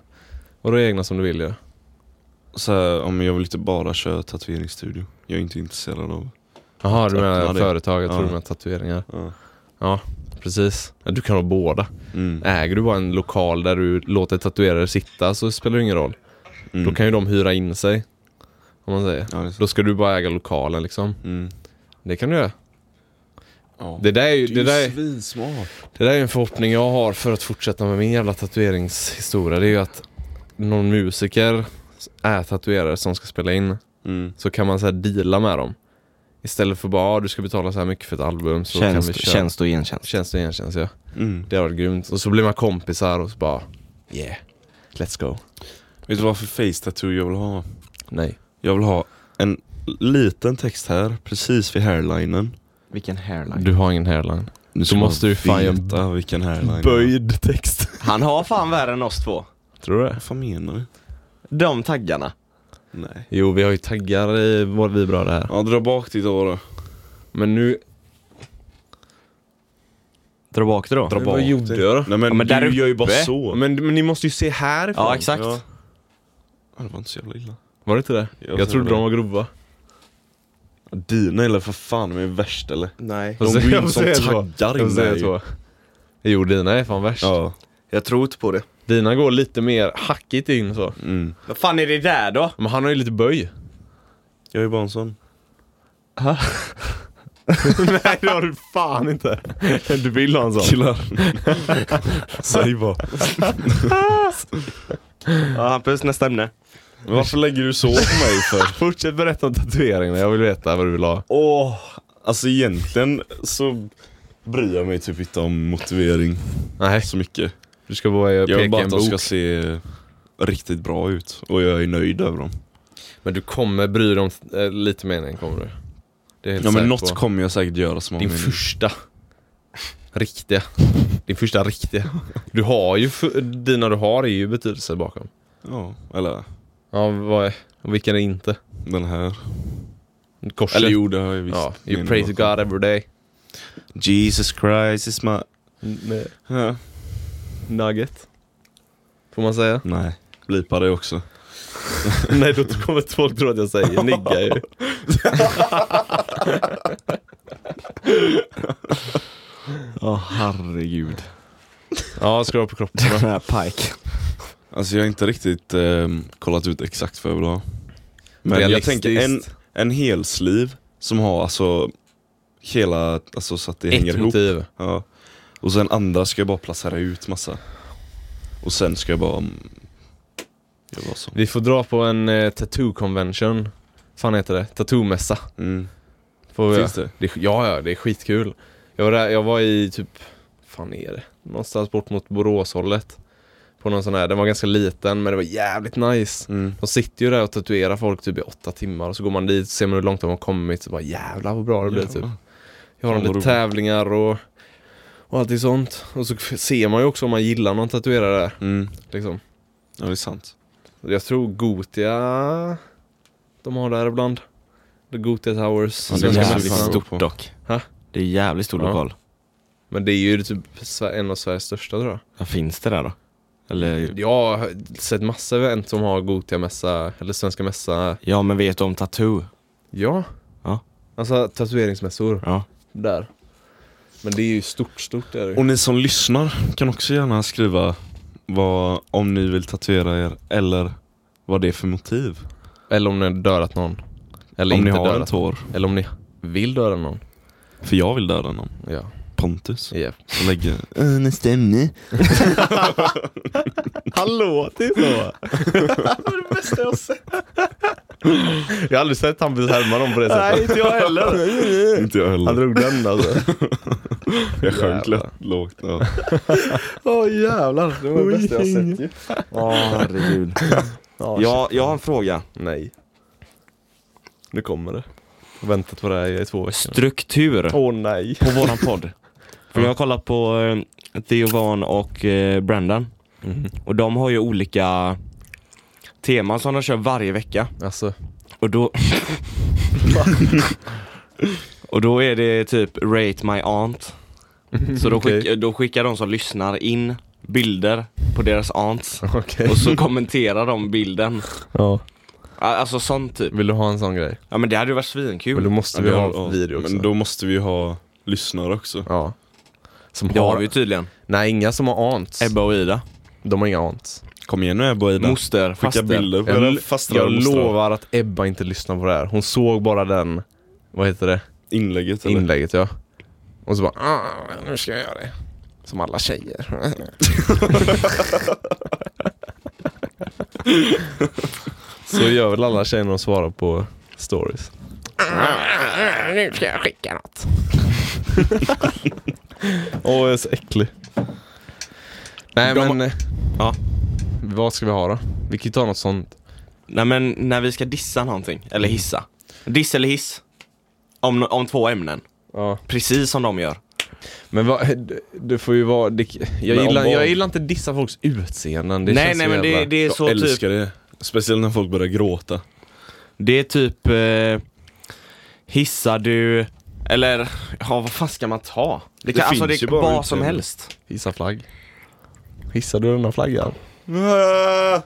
Vadå egna som du vill göra?
Så här, om jag vill inte bara köra tatueringsstudio. Jag är inte intresserad av
Jaha, du menar
Öppna det.
företag. Jag tror
Ja.
du menar tatueringar.
ja.
Precis. Ja, Du kan ha båda.
mm.
Äger du bara en lokal där du låter tatuerare sitta så spelar det ingen roll.
Mm.
Då kan ju de hyra in sig. Om man säger.
Ja, det är så.
Då ska du bara äga lokalen liksom.
Mm.
Det kan du göra.
Ja.
Det där är ju,
Det
det där är,
svinsmart.
det där är en förhoppning jag har för att fortsätta med min jävla tatueringshistoria. Det är ju att någon musiker är tatuerare som ska spela in.
Mm.
Så kan man så här deala med dem. Istället för bara, ah, du ska betala så här mycket för ett album så kan vi
Tjänst,
köra.
tjänst och gentjänst.
Tjänst och gentjänst ja.
Mm.
Det har varit grymt. Och så blir man kompisar och så bara, yeah, let's go.
Vet du vad för face tattoo jag vill ha?
Nej.
Jag vill ha en liten text här, precis vid hairlinen.
Vilken hairline.
Du har ingen hairline.
Nu
ska måste
man
du fan göra
veta vilken hairline jag
Böjd text.
Han har fan värre än oss två.
Tror du
har.
det?
Vad fan menar du?
De taggarna.
Nej.
Jo, vi har ju taggar i vår vibröra här.
Ja, dra bak ditt år då.
Men nu...
Dra bak det då.
Dra
Men
bak
vad gjorde
det.
jag då?
Nej men,
Ja, men där
du gör ju
uppe.
bara så.
Men, men ni måste ju se härifrån.
Ja exakt.
Ja. Ja, det var inte så jävla illa.
Var det inte det? Jag,
Jag ser
trodde
det.
de var grova.
Dina eller för fan, de är värst eller?
Nej.
De
Jag
går in
får
som
säga så.
taggar
Jag
in
säger
där
så.
ju.
Jo, dina är fan värst.
Ja.
Jag tror inte på det.
Dina går lite mer hackigt in så.
Mm.
Vad fan är det där då?
Men han har ju lite böj.
Jag är bara en sån.
Nej, det har du fan inte. Du vill ha en sån.
Killar. Säg bara.
Ja, Hampus, nästa ämne.
Varför lägger du så på mig för?
Fortsätt berätta om tatueringarna, jag vill veta vad du vill ha.
Åh, alltså egentligen så bryr jag mig typ inte om motivering
Nej,
så mycket.
du ska bara
Jag vill
peka
bara
en
att de
bok.
ska se riktigt bra ut och jag är nöjd över dem.
Men du kommer bry dig om eh, lite mening, kommer du. Det är jag helt
Ja men
säker
något
på.
kommer jag säkert göra som har
Din
mening.
första riktiga. Din första riktiga. Du har ju, f- dina du har är ju betydelse bakom.
Ja, eller
Ja, vad är, och vilken är inte?
den här.
Korset.
Eller jo det har jag visst.
ja, you
mening
pray to
bakom.
God every day.
Jesus Christ is my... Ja.
Nugget. Får man säga?
Nej, blipa det också.
Nej, då kommer folk tro att jag säger nigga ju.
Åh herregud.
Ja, ska du ha på kroppen.
Den här pike.
Alltså jag har inte riktigt ehm, kollat ut exakt vad jag vill ha. Men jag
Realistiskt.
tänker en, en helsliv som har alltså hela, alltså så att det hänger
Ett
ihop.
motiv.
Ja. Och sen andra ska jag bara placera ut massa. Och sen ska jag bara... mm, Jag var så.
Vi får dra på en eh, tattoo convention. Fan heter det? Tattoo-mässa.
Mm.
Får vi
Finns
göra.
det?
Det, ja, ja, det är skitkul. Jag var, där, jag var i typ, fan är det? Någonstans bort mot Boråshållet. På någon sån här, den var ganska liten men det var jävligt nice.
Mm.
De sitter ju där och tatuerar folk typ i åtta timmar och så går man dit och ser man hur långt de har kommit så bara jävlar vad bra det blir typ. Jag har
Fan,
de
vad
lite
roligt.
tävlingar och, och allting sånt. Och så f- ser man ju också om man gillar någon tatuerare
Mm.
liksom.
Ja det är sant.
Och Jag tror Gotia de har där ibland. The Gotia Towers.
Ja, det
Det
måste
är
Svenska
vi
jävligt
fan
mässan.
gå
stort
på.
dock.
Ha?
Det är jävligt stor
Ja.
lokal.
Men det är ju typ Sve- en av Sveriges största tror jag.
Vad finns det där då? Eller?
Jag har sett massa event som har Gotia-mässa, eller Svenska mässa.
Ja men vet du om Tattoo?
Ja.
Ja.
Alltså tatueringsmässor.
Ja.
Där. Men det är ju stort, stort är det ju.
Och ni som lyssnar kan också gärna skriva vad, om ni vill tatuera er eller vad det är för motiv.
Eller om ni har dödat någon. Eller
om
inte
ni har en
dödat.
tår.
Eller om ni vill döda någon.
För jag vill döda någon.
Ja.
Pontus.
Yep.
Och lägger, "Eh, nästa ämne.
Han låter ju så. det var det bästa jag har sett. Jag har aldrig sett Hampus härma någon på det sättet.
Nej, inte jag
heller.
Inte jag
Han
heller.
drog den alltså.
Jag sjönk
Jävlar.
lätt- lågt. Ja.
Åh oh, jävlar, det var det bästa jag har sett ju.
Åh herregud. Ja, jag har en fråga.
Nej. Nu kommer det. Jag har väntat på det här i två veckor.
Struktur
Åh nej.
på våran podd. För jag har kollat på eh, Theovan och eh, Brendan. Och de har ju olika teman som de kör varje vecka.
Alltså,
Och då... och då är det typ Rate My Aunt. Så då,
Okej.
skick, då skickar de som lyssnar in bilder på deras aunts.
okej.
Och så kommenterar de bilden.
Ja.
Ah, Alltså sånt typ.
Vill du ha en sån grej?
Ja men det hade ju varit svinkul.
Men då måste vi ha video också.
Men då måste vi ju ha lyssnare också.
Ja. Som
Det har
har...
vi ju tydligen.
Nej, inga som har aunts.
Ebba och Ida.
De har inga aunts.
Kom igen nu Ebba och Ida.
Moster,
Skicka
faster.
bilder på
Jag,
era
jag
fastrar och mostrar.
lovar att Ebba inte lyssnar på det här. Hon såg bara den, vad heter det,
Inlägget eller?
inlägget ja. Och så bara, "Ah, nu ska jag göra det. Som alla tjejer. så gör väl alla tjejer när de svarar på stories. "Ah, nu ska jag skicka något. Åh, jag är så äcklig. Nej
De-
men, eh,
Ja.
vad ska vi ha då? Vi kan ju ta något sånt.
Nej men när vi ska dissa någonting,
Mm.
eller hissa. Diss eller hiss. Om, no- om två ämnen.
Ja.
Precis som de gör.
Men vad, du får ju vara, det, jag,
Men
gillar,
om vad?
jag gillar inte dissa folks utseenden. Det
nej
känns
nej
så
men det,
jävla-
det är
Jag
så typ,
älskar det. Speciellt när folk börjar gråta.
det är typ eh, hissar du, eller ja vad fan ska man ta? Det, kan, alltså,
finns
det
ju
är
bara
vad
utseende.
som helst.
Hissa flagg. Hissar du den här flaggan? Ah!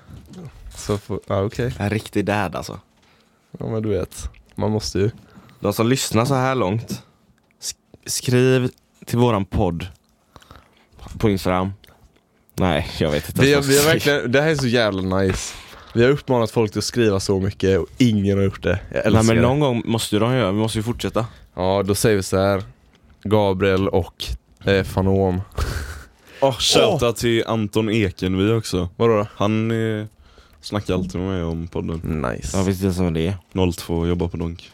Så får, ja okej.
En riktig dad alltså.
Ja men du vet. Man måste ju.
De som lyssnar så här långt, sk- skriv till våran podd på Instagram. Nej, jag vet inte.
Vi, har-
ens vad
vi har
jag ska
verkligen, det här är så jävla nice. Vi har uppmanat folk till att skriva så mycket och ingen har gjort det. Jag älskar
Nej men
det.
någon gång måste ju de göra, vi måste ju fortsätta.
Ja då säger vi så här. Gabriel och eh, Fanom.
Oh, Shoutout till Anton Ekenvi också.
Vadå då?
Han eh, snackar alltid med mig om podden.
Nice.
Jag vet inte ens vad det är.
02, jobbar på Donk.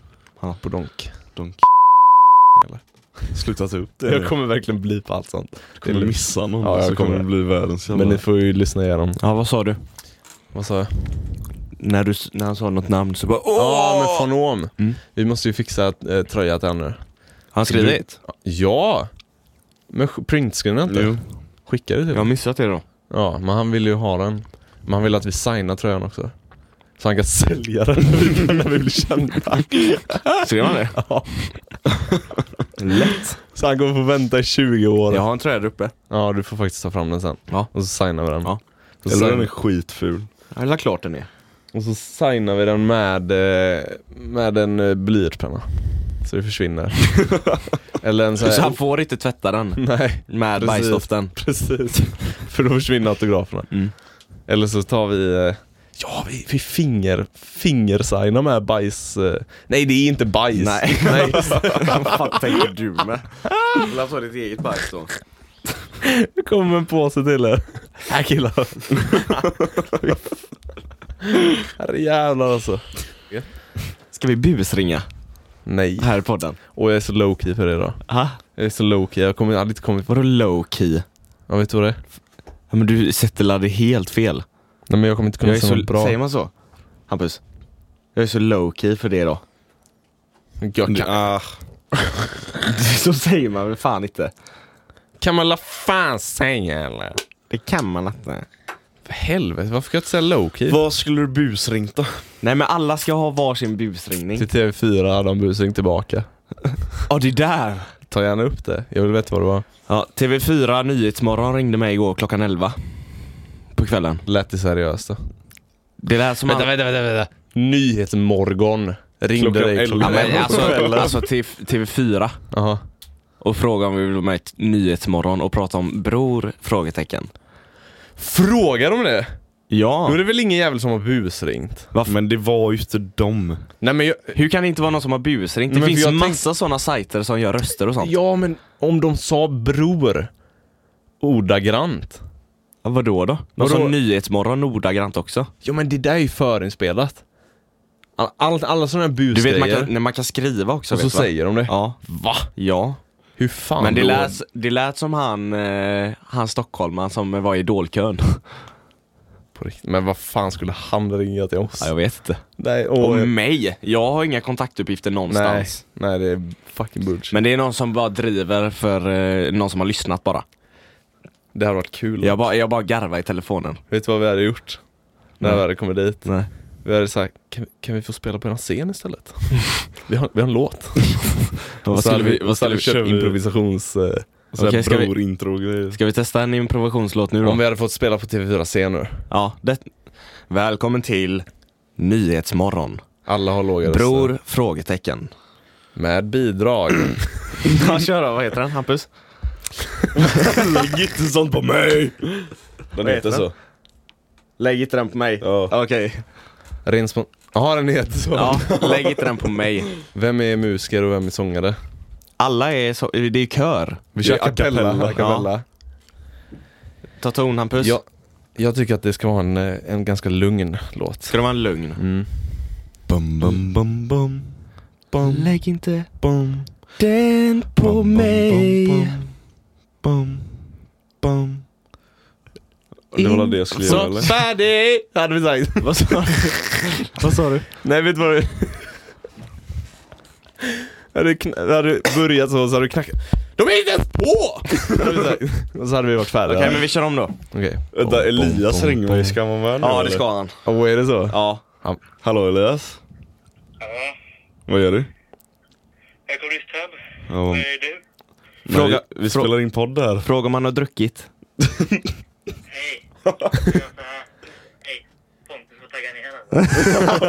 på donk.
Donk. Eller? Sluta ta upp det.
Jag kommer verkligen bli på allt sånt.
kommer
det är lugnt.
missa någon
Ja, jag
så kommer
kommer.
det bli världens jävla...
Men ni får ju lyssna igenom.
Ja vad sa du?
Vad sa jag?
När, du, s- när han sa något namn så bara åh!
Ja men Fanom.
Mm.
Vi måste ju fixa eh, tröja till henne.
Han skrivit?
Ja! Men sk- printscreena inte?
Jo.
Skicka det till
Jag har missat det då.
Ja, men han vill ju ha den. Men han vill att vi signar tröjan också. Så han kan sälja den när vi- när vi blir kända.
Skrev han det?
Ja.
Lätt.
Så han kommer få vänta i 20 år.
Jag
Ja.
har en tröja där uppe.
du får faktiskt ta fram den sen.
Ja.
Och så signar vi den.
Ja.
Och, så
Eller den är
signar,
skitful.
Ja, det är klart den är.
och så signar vi den med, eh, med en eh, blyertspenna. Så det försvinner. Eller en sån här...
Så han får inte tvätta den
Nej.
med
Precis.
bajsdoften.
Precis, för då försvinner autograferna.
Mm.
Eller så tar vi, eh, ja vi, vi finger, fingersignar med bajs. eh, Nej det är inte bajs.
Nej.
Nej.
Vad fan tänker du med? Du vill ha ditt eget bajs då?
Det kommer en påse till er. Här killar. Herrejävlar alltså.
Ska vi busringa
Nej.
här i podden?
Och jag är så low key för det idag.
Ha?
Jag är så low key, jag kommer aldrig inte kommit på
Vadå low key?
Ja vet du vad det är?
Ja, men du sätter laddet helt fel.
Nej men jag kommer inte kunna
Jag är
säga
så,
något bra.
Säger man så? Hampus? Jag är så low key för det då.
Jag kan,
Ah,
så säger man väl fan inte?
kan man la fan säga eller?
Det kan man inte.
För helvete, varför kan jag inte säga low key?
vad skulle du busringt då?
Nej men alla ska ha varsin busringning.
Till TV4 hade han busring tillbaka.
Ja det där!
Ta gärna upp det. Jag vill veta vad det var.
Ja, TV4 Nyhetsmorgon ringde mig igår klockan 11. På kvällen.
Lät det seriöst då?
Det lät som han...
vänta, vänta, vänta. Nyhetsmorgon. Ringde
Klockan
dig
elva.
Ja,
klockan
men,
elva.
alltså, alltså till TV4
Jaha.
och frågade om vi ville vara med i ett Nyhetsmorgon och prata om bror? Frågetecken.
Frågar de det?
Ja.
Nu är det väl ingen jävel som har busringt?
Men det var ju inte dem.
Nej men jag,
Hur kan det inte vara någon som har busringt? Det
Men för
finns
jag
massa sådana sajter som gör röster och sånt.
Ja, men om de sa bror ordagrant.
Ja, vadå då? Någon
Vadå?
som Nyhetsmorgon ordagrant också.
Ja, men det där är ju förinspelat. All, all, alla sådana här
Du vet, man
busgrejer.
kan, när man kan skriva också.
och så
vet du, va?
säger de det.
Ja. Va? Ja.
Hur fan
Men det
då?
lät, det lät som han, eh, han stockholmaren som var i idolkön.
På riktigt. Men vad fan skulle han ringa till oss?
Ja, jag vet inte.
Nej,
Och
åh,
mig! Jag har inga kontaktuppgifter
nej,
någonstans.
nej, det är fucking bullshit.
Men det är någon som bara driver för eh, någon som har lyssnat bara.
det hade varit kul.
Jag bara, jag bara garvar i telefonen.
Vet du vad vi hade gjort? När vi hade kommit dit.
Nej.
Vi hade sagt, kan, vi- kan vi få spela på en scen istället? vi, har, vi har en låt.
Vad
så
skulle
hade
vi, vad
så hade
skulle
vi kört
vi,
improvisations... Eh,
Så
Okej,
okay,
ska vi-
bror-intro och grejer.
Ska vi testa en improvisationslåt nu då?
om vi hade fått spela på TV4 scen nu.
Ja, det... Välkommen till Nyhetsmorgon.
Alla har låga röster.
Bror? Frågetecken.
Med bidrag.
Ja, kör då. Vad heter den? Hampus?
Lägg inte sånt på mig! Den heter så.
Lägg inte den på mig.
Ja.
Okej.
Ren spon- Jaha, den heter så.
Ja, lägg inte den på mig.
Vem är musiker och vem är sångare?
Alla är så... Det är ju kör.
Vi
Det är
kör a cappella.
acapella.
a cappella.
Ta ton, Hampus.
Ja, jag tycker att det ska vara en, eh, en ganska lugn låt.
Ska det vara en lugn?
Bum, bum, bum, bum. Bum,
Lägg inte
bum.
den
Bum,
på
bum,
mig.
Bum, bum, bum. Det var väl det jag skulle göra eller?
färdig! Hade vi sagt.
Vad sa du? Vad sa du?
Nej, vet du vad du... hade, du kn- hade du börjat så, så hade du knackat. De är inte ens på! hade vi sagt. och så hade vi varit färdiga.
Okej, men vi kör om då.
Okej.
Vänta, Elias ringer mig. Ska man vara med
Ja,
nu,
det
eller?
ska han.
Åh, är det så?
Ja.
Hallå Elias? Vad gör du?
Jag kommer just hem.
Ja,
Vad är du?
Fråga,
Fråga-
vi, vi spelar in podd här.
Fråga om han har druckit.
Hej. Jag gör så här. Hej. Pontus får tagga ner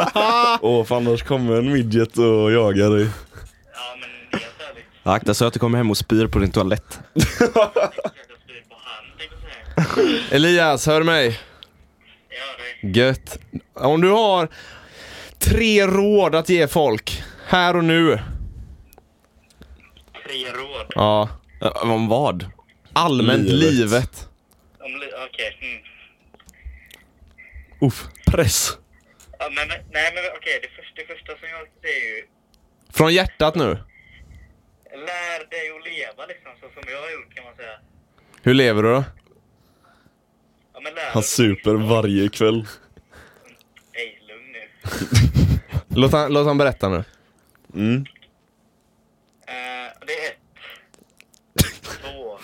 den.
Åh, för annars kommer en midget och jagar dig.
Ja, men det är så liksom. härligt.
Akta så att du kommer hem och spyr på din toalett.
Jag styr på hand, tänkte jag säga.
Elias, hör du mig?
Jag hör dig.
Gött. Om du har tre råd att ge folk, här och nu.
Tre råd.
Ja.
Ö, Om vad?
Allmänt
Livet.
livet.
Om li- Okej. Mm.
Uff, press.
Ja, men, men- nej, men okej. Det, första, det första som jag det är ju
Från hjärtat nu.
lär dig att leva liksom, så som jag har gjort kan man säga.
Hur lever du då?
Ja, men lär
Han
dig.
super varje kväll.
Hej, lugn nu.
Låt han, låt han berätta nu.
Mm.
Eh, det är ett. Två.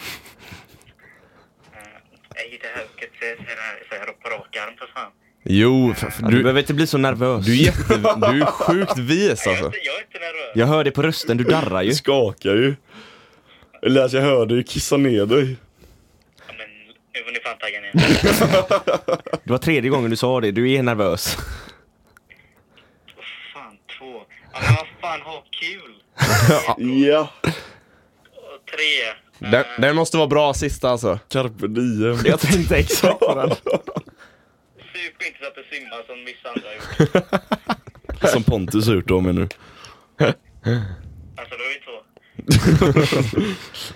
Eh, Nej, det här ska jag inte säga så här- så här på rak arm för fan.
Jo, för, för
Du,
du,
behöver inte bli så nervös.
du, är jätte, du är sjukt vis
Jag är
alltså.
inte, jag är inte nervös.
Jag hör det på rösten, du darrar ju.
Du skakar ju. Elias, jag hör dig kissa ner dig.
Ja, men nu får ni fan tagga ner.
Det var tredje gången du sa det, du är nervös.
fan, två. Ja, men vad fan, ha kul.
Ja.
Och tre. eh,
Den, den måste vara bra sista alltså.
Carpe diem.
Jag tänkte exakt på den.
Sup inte så att du simmar som vissa andra har gjort.
Som Pontus har gjort om mig nu.
Alltså, då är vi två.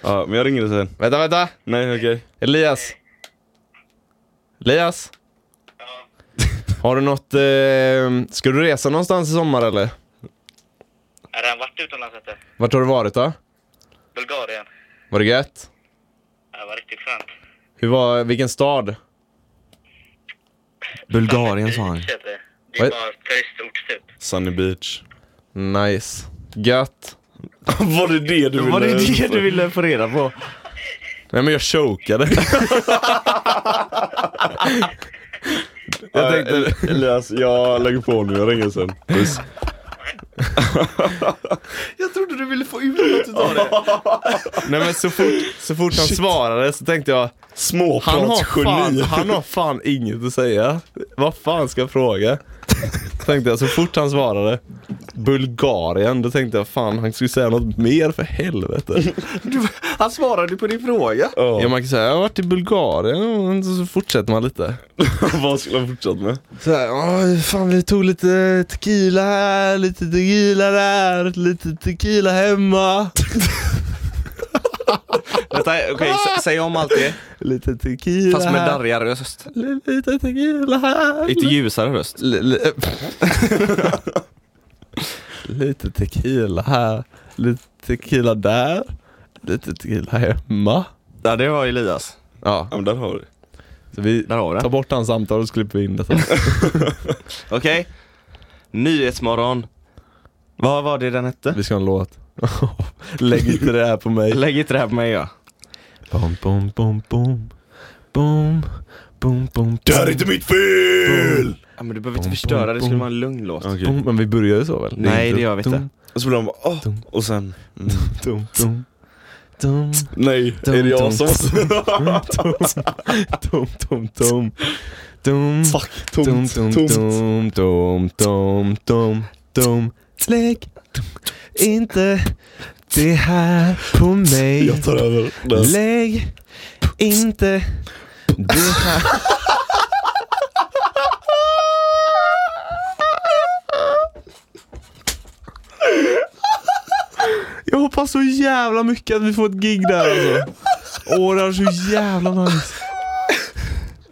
Ja, men jag ringer dig sen.
Vänta, vänta.
Nej, okej.
Elias. Elias,
Ja,
har du något... Eh, ska du resa någonstans i sommar eller?
har han varit utomlands vet
Vart har du varit då?
Bulgarien.
Var det gött?
Ja, Det var riktigt skönt.
Hur var, vilken stad?
Bulgarien sa han.
Beach heter det. Det
Vad-
är bara turistort typ.
Sunny Beach.
Nice. Gött.
Var det det du ville?
ville få reda på?
Nej men jag chokade.
Jag tänkte... Elias, jag lägger på nu. Jag ringer sen. Puss.
Jag trodde du ville få ut något utav det.
Nej men så fort, så fort han svarade så tänkte jag, han har, fan,
Småpratsgeni.
han har fan inget att säga. Vad fan ska jag fråga? Tänkte jag så fort han svarade. Bulgarien, då tänkte jag fan han skulle säga något mer för helvete.
Han svarade på din fråga.
Ja man kan säga jag har varit i Bulgarien och så fortsätter man lite.
Vad skulle han fortsatt med?
Så här, "Oj, fan vi tog lite tequila här, lite tequila där, lite tequila hemma.
Vänta, okej, sä- säg om allt det.
Lite tequila
Fast med
här,
darrigare röst.
li- lite tequila här.
Lite ljusare röst.
li- li- lite tequila här, lite tequila där, lite tequila hemma.
Ja, det var Elias.
Ja,
Ja men där har du.
så vi
Där har vi
tar
det.
bort hans samtal och så klipper vi in detta.
Okej. Nyhetsmorgon. Vad var det den hette?
Vi ska ha en låt. Lägg inte det här på mig.
Lägg inte det här på mig ja.
Bom, bom, bom, bom. Bom, bom, bom.
Det här är inte mitt fel!
ja men du behöver
Bom,
inte förstöra,
bom,
det skulle
bom.
vara en lugn låt.
Okej.
Bom, men vi började så väl?
Nej, det gör vi inte.
Och så blir han bara åh, och sen... Mm.
Dum, dum, dum,
Nej,
Dum,
är det jag
dum,
som...
dum, dum, dum. Dum,
Fuck,
dum,
tomt,
dum,
tomt.
dum, dum, dum, dum, dum. Lägg inte det här på mig.
Jag tar över. Där.
Lägg inte det här... Jag hoppas så jävla mycket att vi får ett gig där alltså. Åh, det är så jävla nice.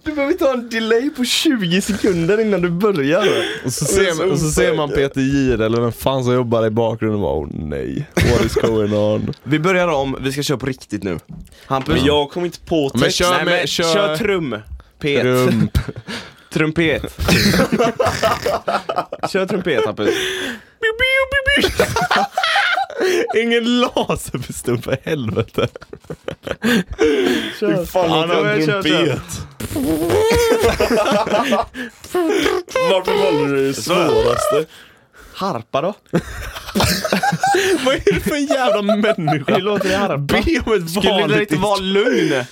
Du behöver inte ha en delay på 20 sekunder innan du börjar.
Och så ser man, och så ser man Peter Jihde eller vem fan som jobbar i bakgrunden och bara åh nej, what is going on?
Vi börjar om, vi ska köra på riktigt nu. Hampus,
Men jag kom inte på
Men
text.
kör
Nej,
med-
men,
kör-
kör... trum. Pet.
Rum.
Trumpet. kör trumpet Hampus.
Ingen laserpistol för helvete.
Hur fan
Ja,
låter
men
en
kör, kör.
trumpet? Varför valde du det svåraste?
Harpa då?
Vad är det för en jävla människa?
Hur låter det harpa?
Be om ett
Skulle det
vanligt
inte vara lugn?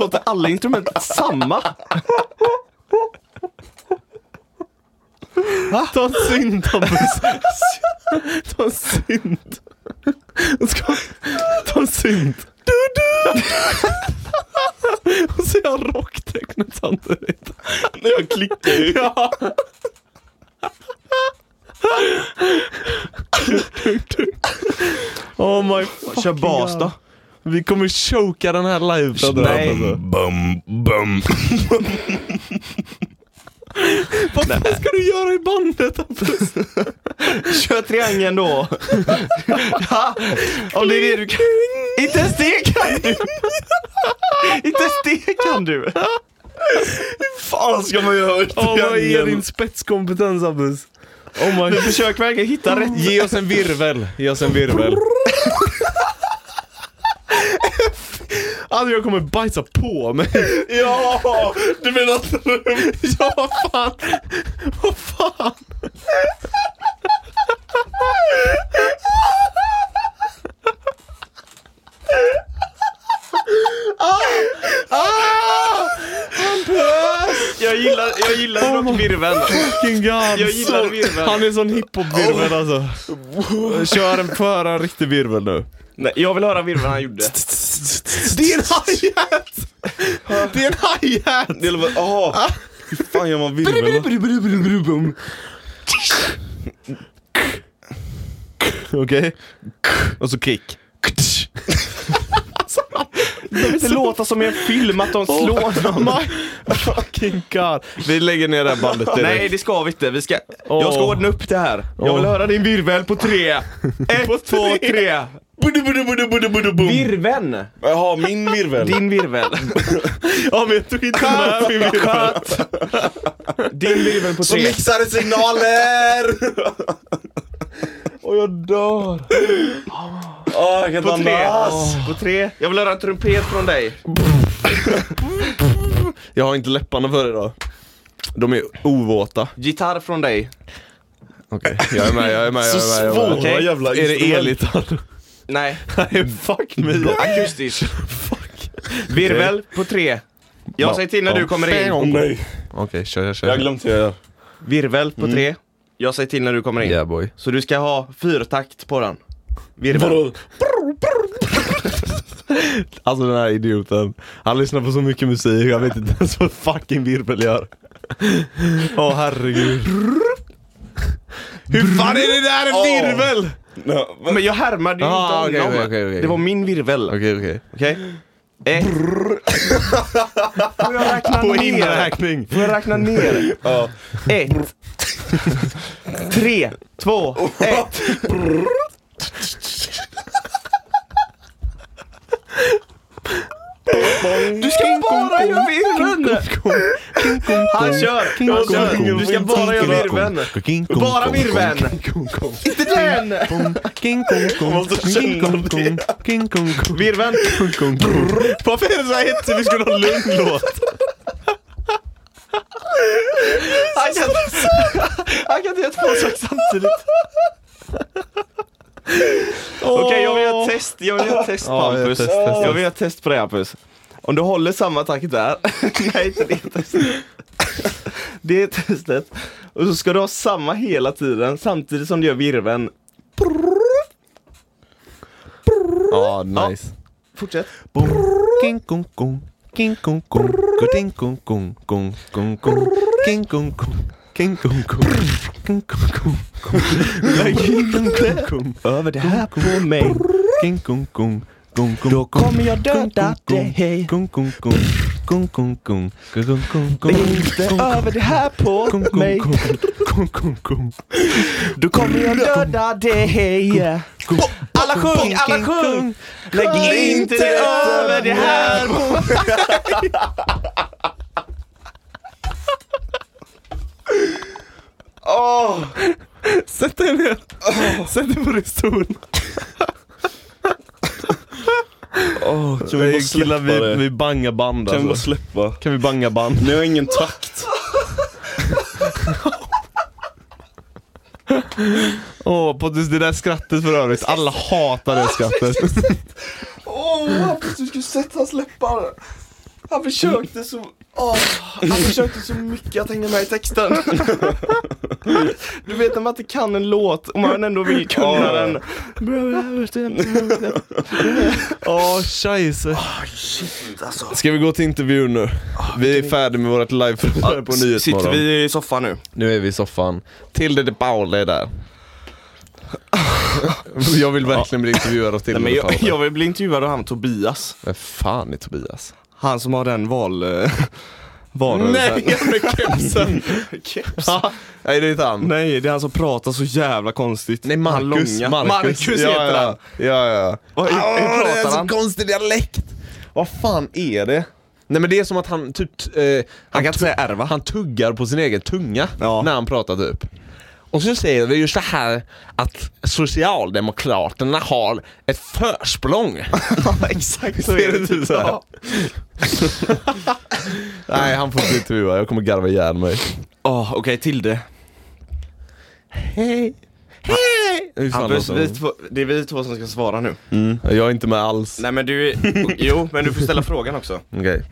Låter alla instrument samma?
Ta en synt Hampus. Ta en synt. Ska- Ta en synt. Du, du. Och så gör jag rocktecknet samtidigt.
När jag klickar ju.
Ja. Oh my
Kör
fucking
bas då.
God. Vi kommer choka den här livepodden.
Nej.
alltså.
Bum, bum.
Vad fan ska du göra i bandet Hampus?
Kör triangeln då. ja, om det är det du kan. Inte ens det kan du. Inte ens det kan du.
fan ska man göra i
Åh, vad är din
triangeln?
spetskompetens Hampus? Oh my
Försök verkligen hitta rätt.
Ge oss en virvel. Ge oss en virvel. Alltså jag kommer bajsa på mig.
Ja! Du menar trum?
Ja, vad fan. Vad fan.
Jag gillar, jag gillar dock virveln.
Fucking god.
Jag gillar virveln.
Han är sån hiphop-virvel alltså. Kör en, få höra en riktig virvel nu.
Nej, jag vill höra virveln han gjorde.
Det är en hi-hat! Det är en hi-hat!
Det är bara, aha. Hur fan gör man virvel?
Okej? Och så kick.
Det behöver inte låta som i en film att de slår någon.
My fucking god. Vi lägger ner det här bandet direkt.
Nej, det ska vi inte. Vi ska... Jag ska
Åh.
ordna upp det här. Jag vill
Åh.
höra din virvel på tre. Ett, två, tre.
Budde, budde, budde, budde, budde, bum.
Virveln.
Jaha, min virvel.
Din virvel.
Ja, men jag tog inte med min virvel.
Din virvel på tre.
mixade signaler!
Och jag dör.
Åh, jag kan
På
inte
tre.
andas.
På tre. Jag vill höra en trumpet från dig.
Jag har inte läpparna för idag. De är ovåta.
Gitarr från dig.
Okej, jag är med, jag är med, jag
Så
är med. Jag är med.
svåra
Okej.
jävla
Är det
instrument.
elgitarr?
Nej.
Nej, fuck me.
Akustisk. Virvel på tre. Jag säger till när du kommer in.
nej.
Okej, kör, kör,
Jag har
kör.
glömt hur jag gör.
Virvel på
Mm.
tre. Jag säger till när du kommer in.
Yeah boy.
Så du ska ha fyrtakt på den. Virvel.
Alltså den här idioten. Han lyssnar på så mycket musik, jag vet inte ens vad fucking virvel gör. Åh herregud. Hur fan är det där en
Åh.
virvel?
Men jag härmade ju
Ah,
inte
okej,
honom.
okej, okej, okej.
Det var min virvel. Okej?
Okej, okej.
Eh. Får jag räkna
På
ner?
inräkning.
Får jag räkna ner?
Ja.
Ett. Tre, två, ett. Du ska bara göra virveln! Han kör! Han kör! Du ska bara göra virveln! Bara virveln! Inte den! Virveln!
Varför är det så här hetsigt? Vi skulle ha en lugn låt.
Han kan, han kan inte göra två saker samtidigt. Okej, jag vill göra ett test. Jag vill göra ett test på
Ja,
Hampus.
test, test, test.
Jag vill göra ett test på dig Hampus. Om du håller samma takt där. Nej, inte det testet. Det är testet. Och så ska du ha samma hela tiden samtidigt som du gör virveln.
Ja, nice.
Fortsätt.
King kung kung, king kung kung, kung kung kung kung kung kung, king kung kung, king kung kung, king kung kung, king kung kung kung,
Över det här på mig.
king kung kung, kung kung. Då
kommer jag döda dig.
Kung kung kung, kung kung kung, kung kung kung.
Lägg inte över det här på
Kung kung
mig.
kung, kung kung kung.
Då kommer jag döda dig. Alla sjung, alla sjung! Lägg inte över det här på mig. Åh,
Sätt dig ner, sätt dig på din stol.
Kan vi bara släppa
Killar, vi,
det?
vi bangar band
Kan vi bara
alltså.
släppa?
Kan vi banga band?
Ni har ingen takt.
Åh Pontus, det där skrattet för övrigt. Alla hatar det skrattet.
åh, Hampus, du skulle sett hans läppar. Han försökte så... åh,
Mm.
han försökte så mycket att hänga med i texten. Du vet när man inte kan en låt och man ändå vill kunna den.
Åh, scheisse.
alltså.
Ska vi gå till intervjun nu?
Ah,
vi är färdiga med vårt liveförhör på
Sitter
Nyhetsmorgon.
vi i soffan nu?
Nu är vi i soffan. Tilde de Paula är där. jag vill verkligen bli intervjuad av Tilde
Nej, men
de
jag,
Paula.
jag vill bli intervjuad av han Tobias.
Men fan är Tobias?
Han som har den val... eh, Valrörelsen.
Nej, med kepsen!
Keps.
Nej, det är inte han.
Nej, det är han som pratar så jävla konstigt.
Nej,
Han
Marcus.
långa. Marcus heter
ja, ja.
han.
Ja, ja.
Vad- hur- hur
Ah,
pratar han?
konstig dialekt. Vad fan är det? Nej men det är som att han typ... t- Eh, han,
kan inte
tu-
säga ärva.
Han tuggar på sin egen tunga
Ja.
när han pratar typ. Och så säger vi just det här att Socialdemokraterna har ett försprång.
Ja, Exakt så
Ser
är det
det ut
typ.
så här?
Ja.
Nej, han får inte intervjua. Jag kommer garva ihjäl mig.
Åh, Okej, Tilde.
Hej! Hej! Hur fan
Hampus,
låter
vi
hon?
två, det är vi två som ska svara nu.
Jag är inte med alls.
Nej men du, jo men du får ställa frågan också.
Okej.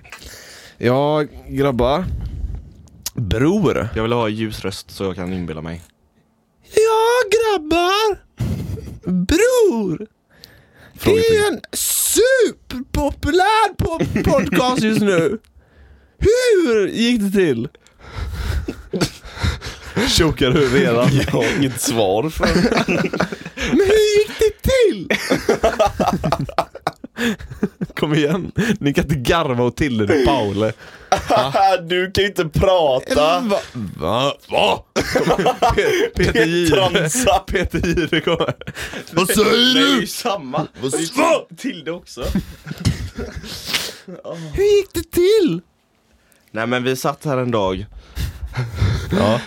Ja, grabbar. Bror.
Jag vill ha ljus röst så jag kan inbilla mig.
Ja, grabbar! Bror! Det är en superpopulär po- podcast just nu. Hur gick det till? Chokar du redan?
Jag har inget svar för
Men hur gick det till? Kom igen, ni kan inte garva åt till det Paule.
Äh, Du kan ju inte prata.
Va? Va? Va? Pe- Peter Jihde
Transa.
Peter Jihde kommer. Vad säger
Det är ju samma. Det är ju Tilde också.
Hur gick det till?
Nej men vi satt här en dag. Ja.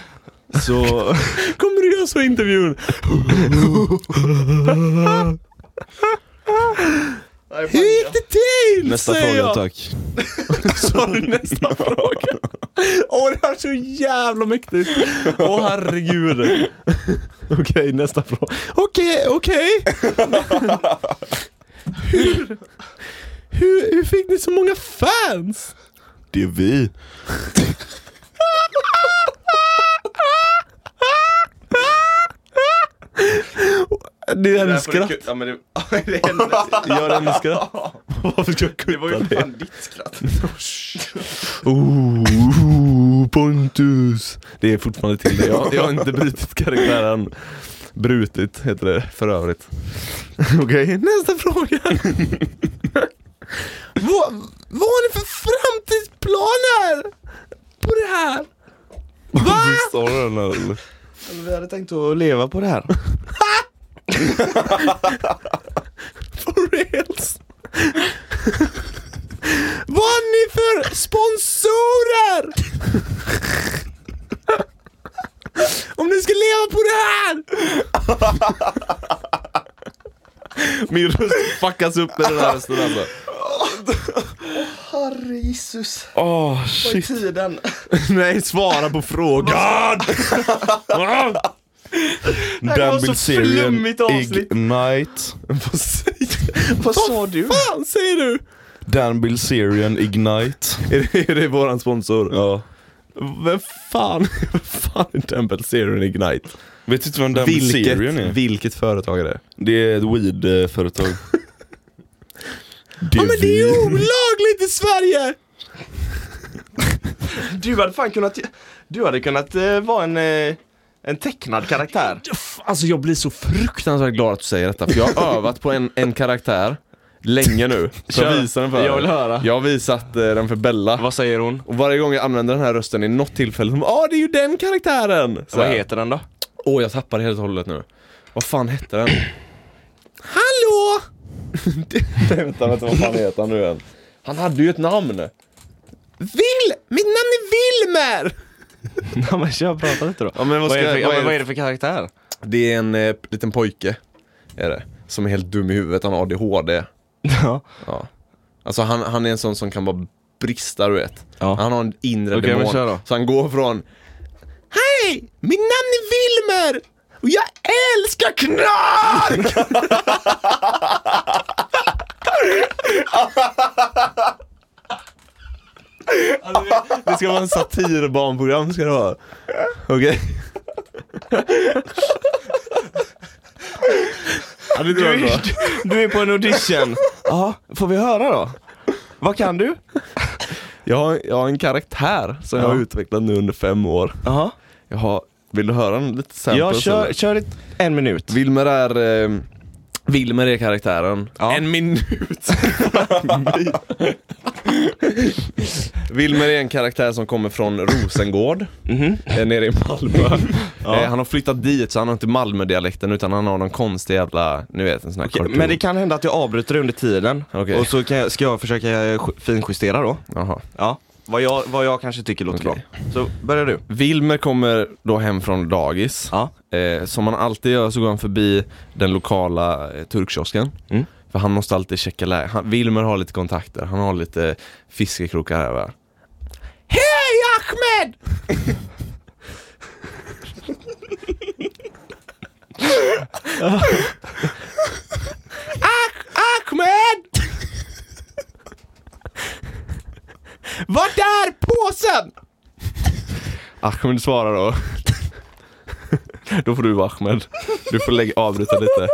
Så...
Kommer du göra så i intervjun? Hur gick det till?
Nästa
säger
fråga
jag.
tack.
Sa du nästa fråga? Åh, det här är så jävla mäktigt. Åh, herregud. Okej, nästa fråga. Okej, okej. hur, hur, hur fick ni så många fans?
det är vi.
Det är
Det
en
här får du
skratt.
ku- Ja, men det, det, hände.
Gör en skratt. Varför ska jag
det var
kutta
ju
det?
fan ditt skratt.
Oh, Pontus. Det är fortfarande till det. Jag, jag har inte brutit karaktären. Brutit heter det för övrigt. Okej, nästa fråga. vad, vad har ni för framtidsplaner på det här?
Förstår du den här, eller?
Vi hade tänkt att leva på det här.
For reals. vad har ni för sponsorer? Om ni ska leva på det här! Min röst fuckas upp med den här rösten alltså.
Herre Jesus.
Åh
Vad är
shit.
tiden?
Nej, svara på frågan!
här var så flummigt avsnitt.
Ignite.
Vad säger
Vad sa du?
fan säger du?
Dan Bilzerian Ignite.
Är det, är det våran sponsor?
Ja.
Vem fan, vem fan är Temple Zero Ignite?
Vet inte vem Dan
Vilket,
Bilzerian är?
vilket företag är det?
Det är ett weed-företag.
Ja men det är ju olagligt i Sverige!
Du hade fan kunnat, du hade kunnat eh, vara en, eh, en tecknad karaktär.
Alltså jag blir så fruktansvärt glad att du säger detta, för jag har övat på en, en karaktär länge nu. Så jag
Kör.
visar den för dig.
Jag vill höra.
Jag har visat eh, den för Bella.
Vad säger hon?
Och varje gång jag använder den här rösten i något tillfälle, de bara, ah det är ju den karaktären! Så
Vad
här.
heter den då?
Åh, jag tappade helt och hållet nu. Vad fan hette den? Hallå! Nej, vänta, vänta, vad fan heter han nu än? Han hade ju ett namn. Vil! Mitt namn är Wilmer!
Ja men kör, prata lite då.
Ja, men vad
Vad är,
ska-
det för, ja,
vad är
men
det-
vad är det för karaktär?
Det är en eh, liten pojke, är det. Som är helt dum i huvudet, han har ADHD.
Ja.
Ja. Alltså han, han är en sån som kan bara brista, du vet.
Ja.
Han har en inre
Okej, men
demon.
kör då.
Så han går från Hej! Mitt namn är Wilmer! Och jag älskar knark! alltså, det ska vara en satirbarnprogram ska det vara. Okej? ja, det tror jag
Du,
bra.
du är på en audition. Ja, får vi höra då? Vad kan du?
Jag har, jag har en karaktär som jag
Ja.
har utvecklat nu under fem år.
Jaha.
Jag har, vill du höra en liten sample?
Jag kör,
eller?
kör ett, en minut.
Wilmer är... Eh, Wilmer är karaktären.
Ja.
En minut! Wilmer är en karaktär som kommer från Rosengård,
Mhm.
eh, nere i Malmö. Eh, han har flyttat dit så han har inte Malmödialekten utan han har någon konstig jävla, nu vet en sån här
Okej,
cartoon.
Men det kan hända att jag avbryter under tiden.
Okej.
Och så kan jag, ska jag försöka eh, ju- finjustera då.
Jaha.
Ja. Vad jag, vad jag kanske tycker låter
Okej.
bra. Så börjar du.
Wilmer kommer då hem från dagis.
Ja.
Eh, som man alltid gör så går han förbi den lokala eh, turkkiosken.
Mm.
För han måste alltid checka läget. Han- Wilmer har lite kontakter, han har lite fiskekrokar här va. Hej Ahmed! Ah- Ahmed! Vart är påsen? Ahmed svarar då. Då får du vara Ahmed. Du får lägga, avbryta lite.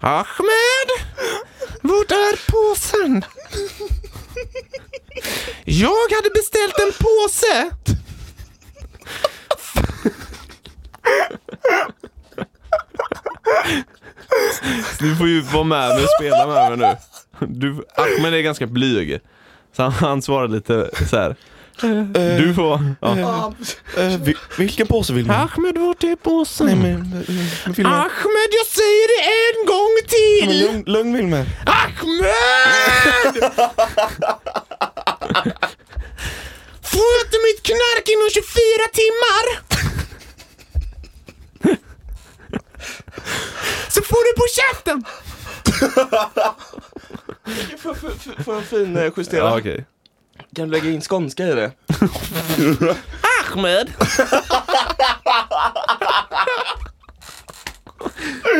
Ahmed! Vart är påsen? Jag hade beställt en påse. Du får ju vara med mig och spela med mig nu. Du, Ahmed är ganska blyg. Så han, han svarar lite så här.
Eh,
Du får... Ja.
vilken påse vill man?
Ahmed, vart är påsen?
eh,
Ahmed, jag säger det en gång till!
Lugn, lugn Wilmer.
Ahmed! Får jag inte mitt knark inom 24 timmar? Så får du på käften!
Får, får, får- får jag finjustera?
okej.
Kan du lägga in skånska i det?
Ahmed! Här,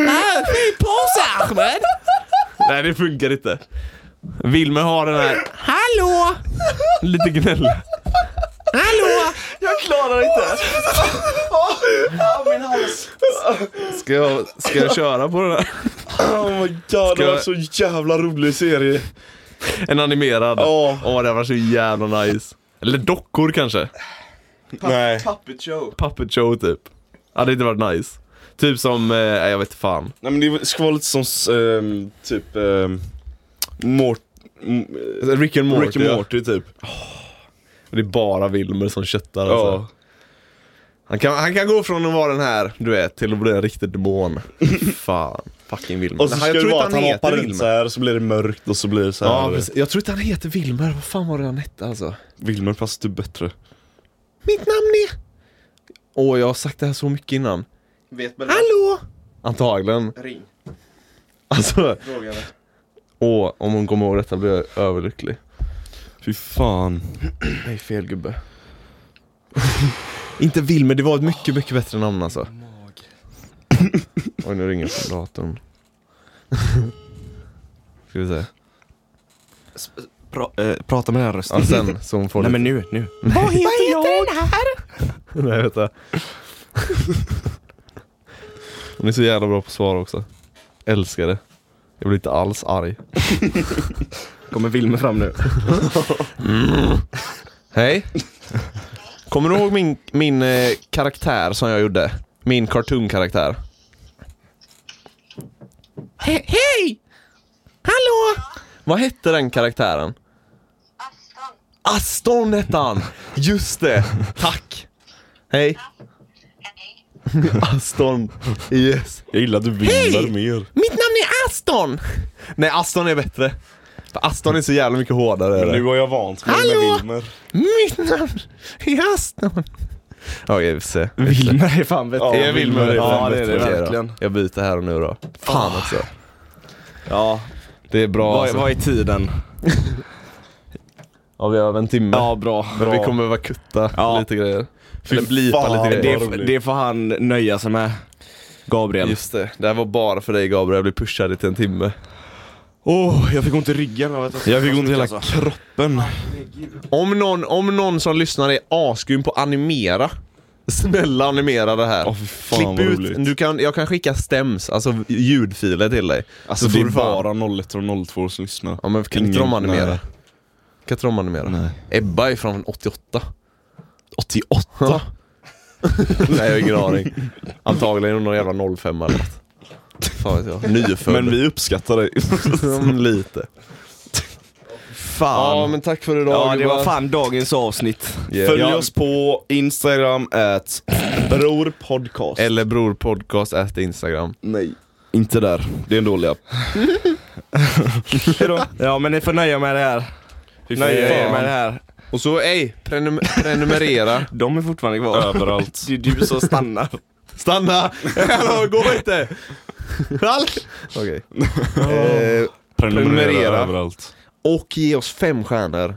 Ah, fin påse Ahmed! Nej, det funkar inte. Wilmer har den här Hallå! Lite gnäll.
jag klarar inte!
Ska jag, ska jag köra på det där?
Oh my god, det var
jag-
så jävla rolig serie.
En animerad.
Ja.
Åh, det var så jävla nice. Eller dockor kanske.
Nej.
Puppet show.
Puppet show typ. Hade inte varit nice. Typ som, eh, jag vet fan.
Nej men det ska vara lite som s- ehm, typ um, Mort, m- eh,
Rick and Morty.
Rick and
ja.
Morty typ.
Och Det är bara Wilmer som köttar
Ja.
alltså. Han kan, han kan gå från att vara den här, du vet, till att bli en riktig demon. Fan. Fucking Wilmer.
Och så Alltså, ska
jag
det
tror
vara
inte
att han
heter
hoppar
Wilmer.
runt så här och så blir det mörkt och så blir det så
Ja,
här.
precis. Jag tror inte han heter Wilmer. Vad fan var det han hette alltså?
Wilmer passar typ bättre.
Mitt namn är... Åh, jag har sagt det här så mycket innan.
Vet väl
Hallå! Antagligen.
Ring.
Alltså,
Fråga henne.
åh, om hon kommer ihåg detta blir jag överlycklig.
Fy fan.
Nej, fel gubbe. inte Wilmer, det var ett mycket, mycket bättre namn alltså. Oj, nu ringer jag på datorn. Ska vi se.
eh, prata med den här rösten.
Ja, sen så hon får
Nej
lite...
men nu, nu.
Nej, vänta. Hon är så jävla bra på att svara också. Älskar det. Jag blir inte alls arg.
Kommer Wilmer fram nu.
Hej. Kommer du ihåg min, min eh, karaktär som jag gjorde? Min cartoon-karaktär. He- Hej! Hallå! Vad hette den karaktären?
Aston.
Aston hette han! Just det! Tack! Hej!
Hej.
Aston. Yes.
Jag gillar att du Wilmer
Hej!
mer.
Mitt namn är Aston! Nej, Aston är bättre. För Aston är så jävla mycket hårdare.
Men nu har jag vant mig
Hallå!
med Wilmer.
Mitt namn är Aston. Okej, vi får se.
Wilmer är fan bättre.
Ja,
Är Wilmer det?
Ja det är det
Okej då.
verkligen.
Jag byter här och nu då. Fan
Ah.
också.
Ja.
Det är bra
Vad,
alltså.
vad är tiden?
Ja, vi har över en timme.
Ja bra.
Men vi kommer behöva kutta
Ja.
lite grejer.
Fy
Eller blipa
fan,
lite
det
grejer.
är-
det, det får han nöja sig med. Gabriel.
Just det. Det här var bara för dig Gabriel. Jag blev pushad till en timme.
Åh, alltså. jag fick ont i ryggen av att Jag fick ont i hela
Alltså,
kroppen.
Om någon, om någon som lyssnar är asgrym på att animera. Snälla animera det här.
Åh, fy fan, vad
Klipp ut.
roligt.
Du kan, jag kan skicka stems, alltså ljudfiler till dig.
Alltså
Så
det
får
är
du fan-
bara 01 och 02 som lyssnar.
Ja men kan inte
Ingen-
de animera?
nej.
Kan inte de animera?
Nej.
Ebba är från 88.
88?
Nej jag har ingen aning. Antagligen någon jävla 05 eller något. Fan vet jag. Nyfödd.
Men vi uppskattar dig.
Mm, Lite.
Fan.
Ja men tack för idag
Ja, det
gubbar.
var fan dagens avsnitt.
Yeah.
Följ
Ja.
oss på Instagram at brorpodcast.
Eller bror podcast at instagram.
nej, inte där. Det är en dålig app.
Ja, men ni får nöja med det här. Nöja er med det här.
Och så ey, prenum prenumerera.
De är fortfarande kvar.
Överallt.
Det är du som stannar.
Stanna! Hallå, gå inte! Hallå! Okej. Eh, Prenumerera.
Prenumerera överallt.
och ge oss fem stjärnor.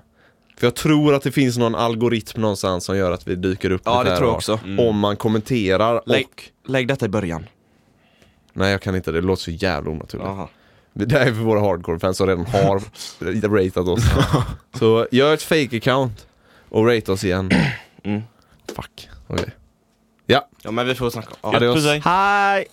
För jag tror att det finns någon algoritm någonstans som gör att vi dyker upp
Ja,
lite
det
här
tror jag
och-
också. Mm.
Om man kommenterar och...
lägg detta i början.
Nej jag kan inte det, det låter så jävla onaturligt.
Jaha.
Det här är för våra hardcore-fans som redan har ratat oss. så gör ett fake-account och rate oss igen.
Mm.
Fuck. Okej. Ja,
Ja, men vi får snacka.
adios.
Hej!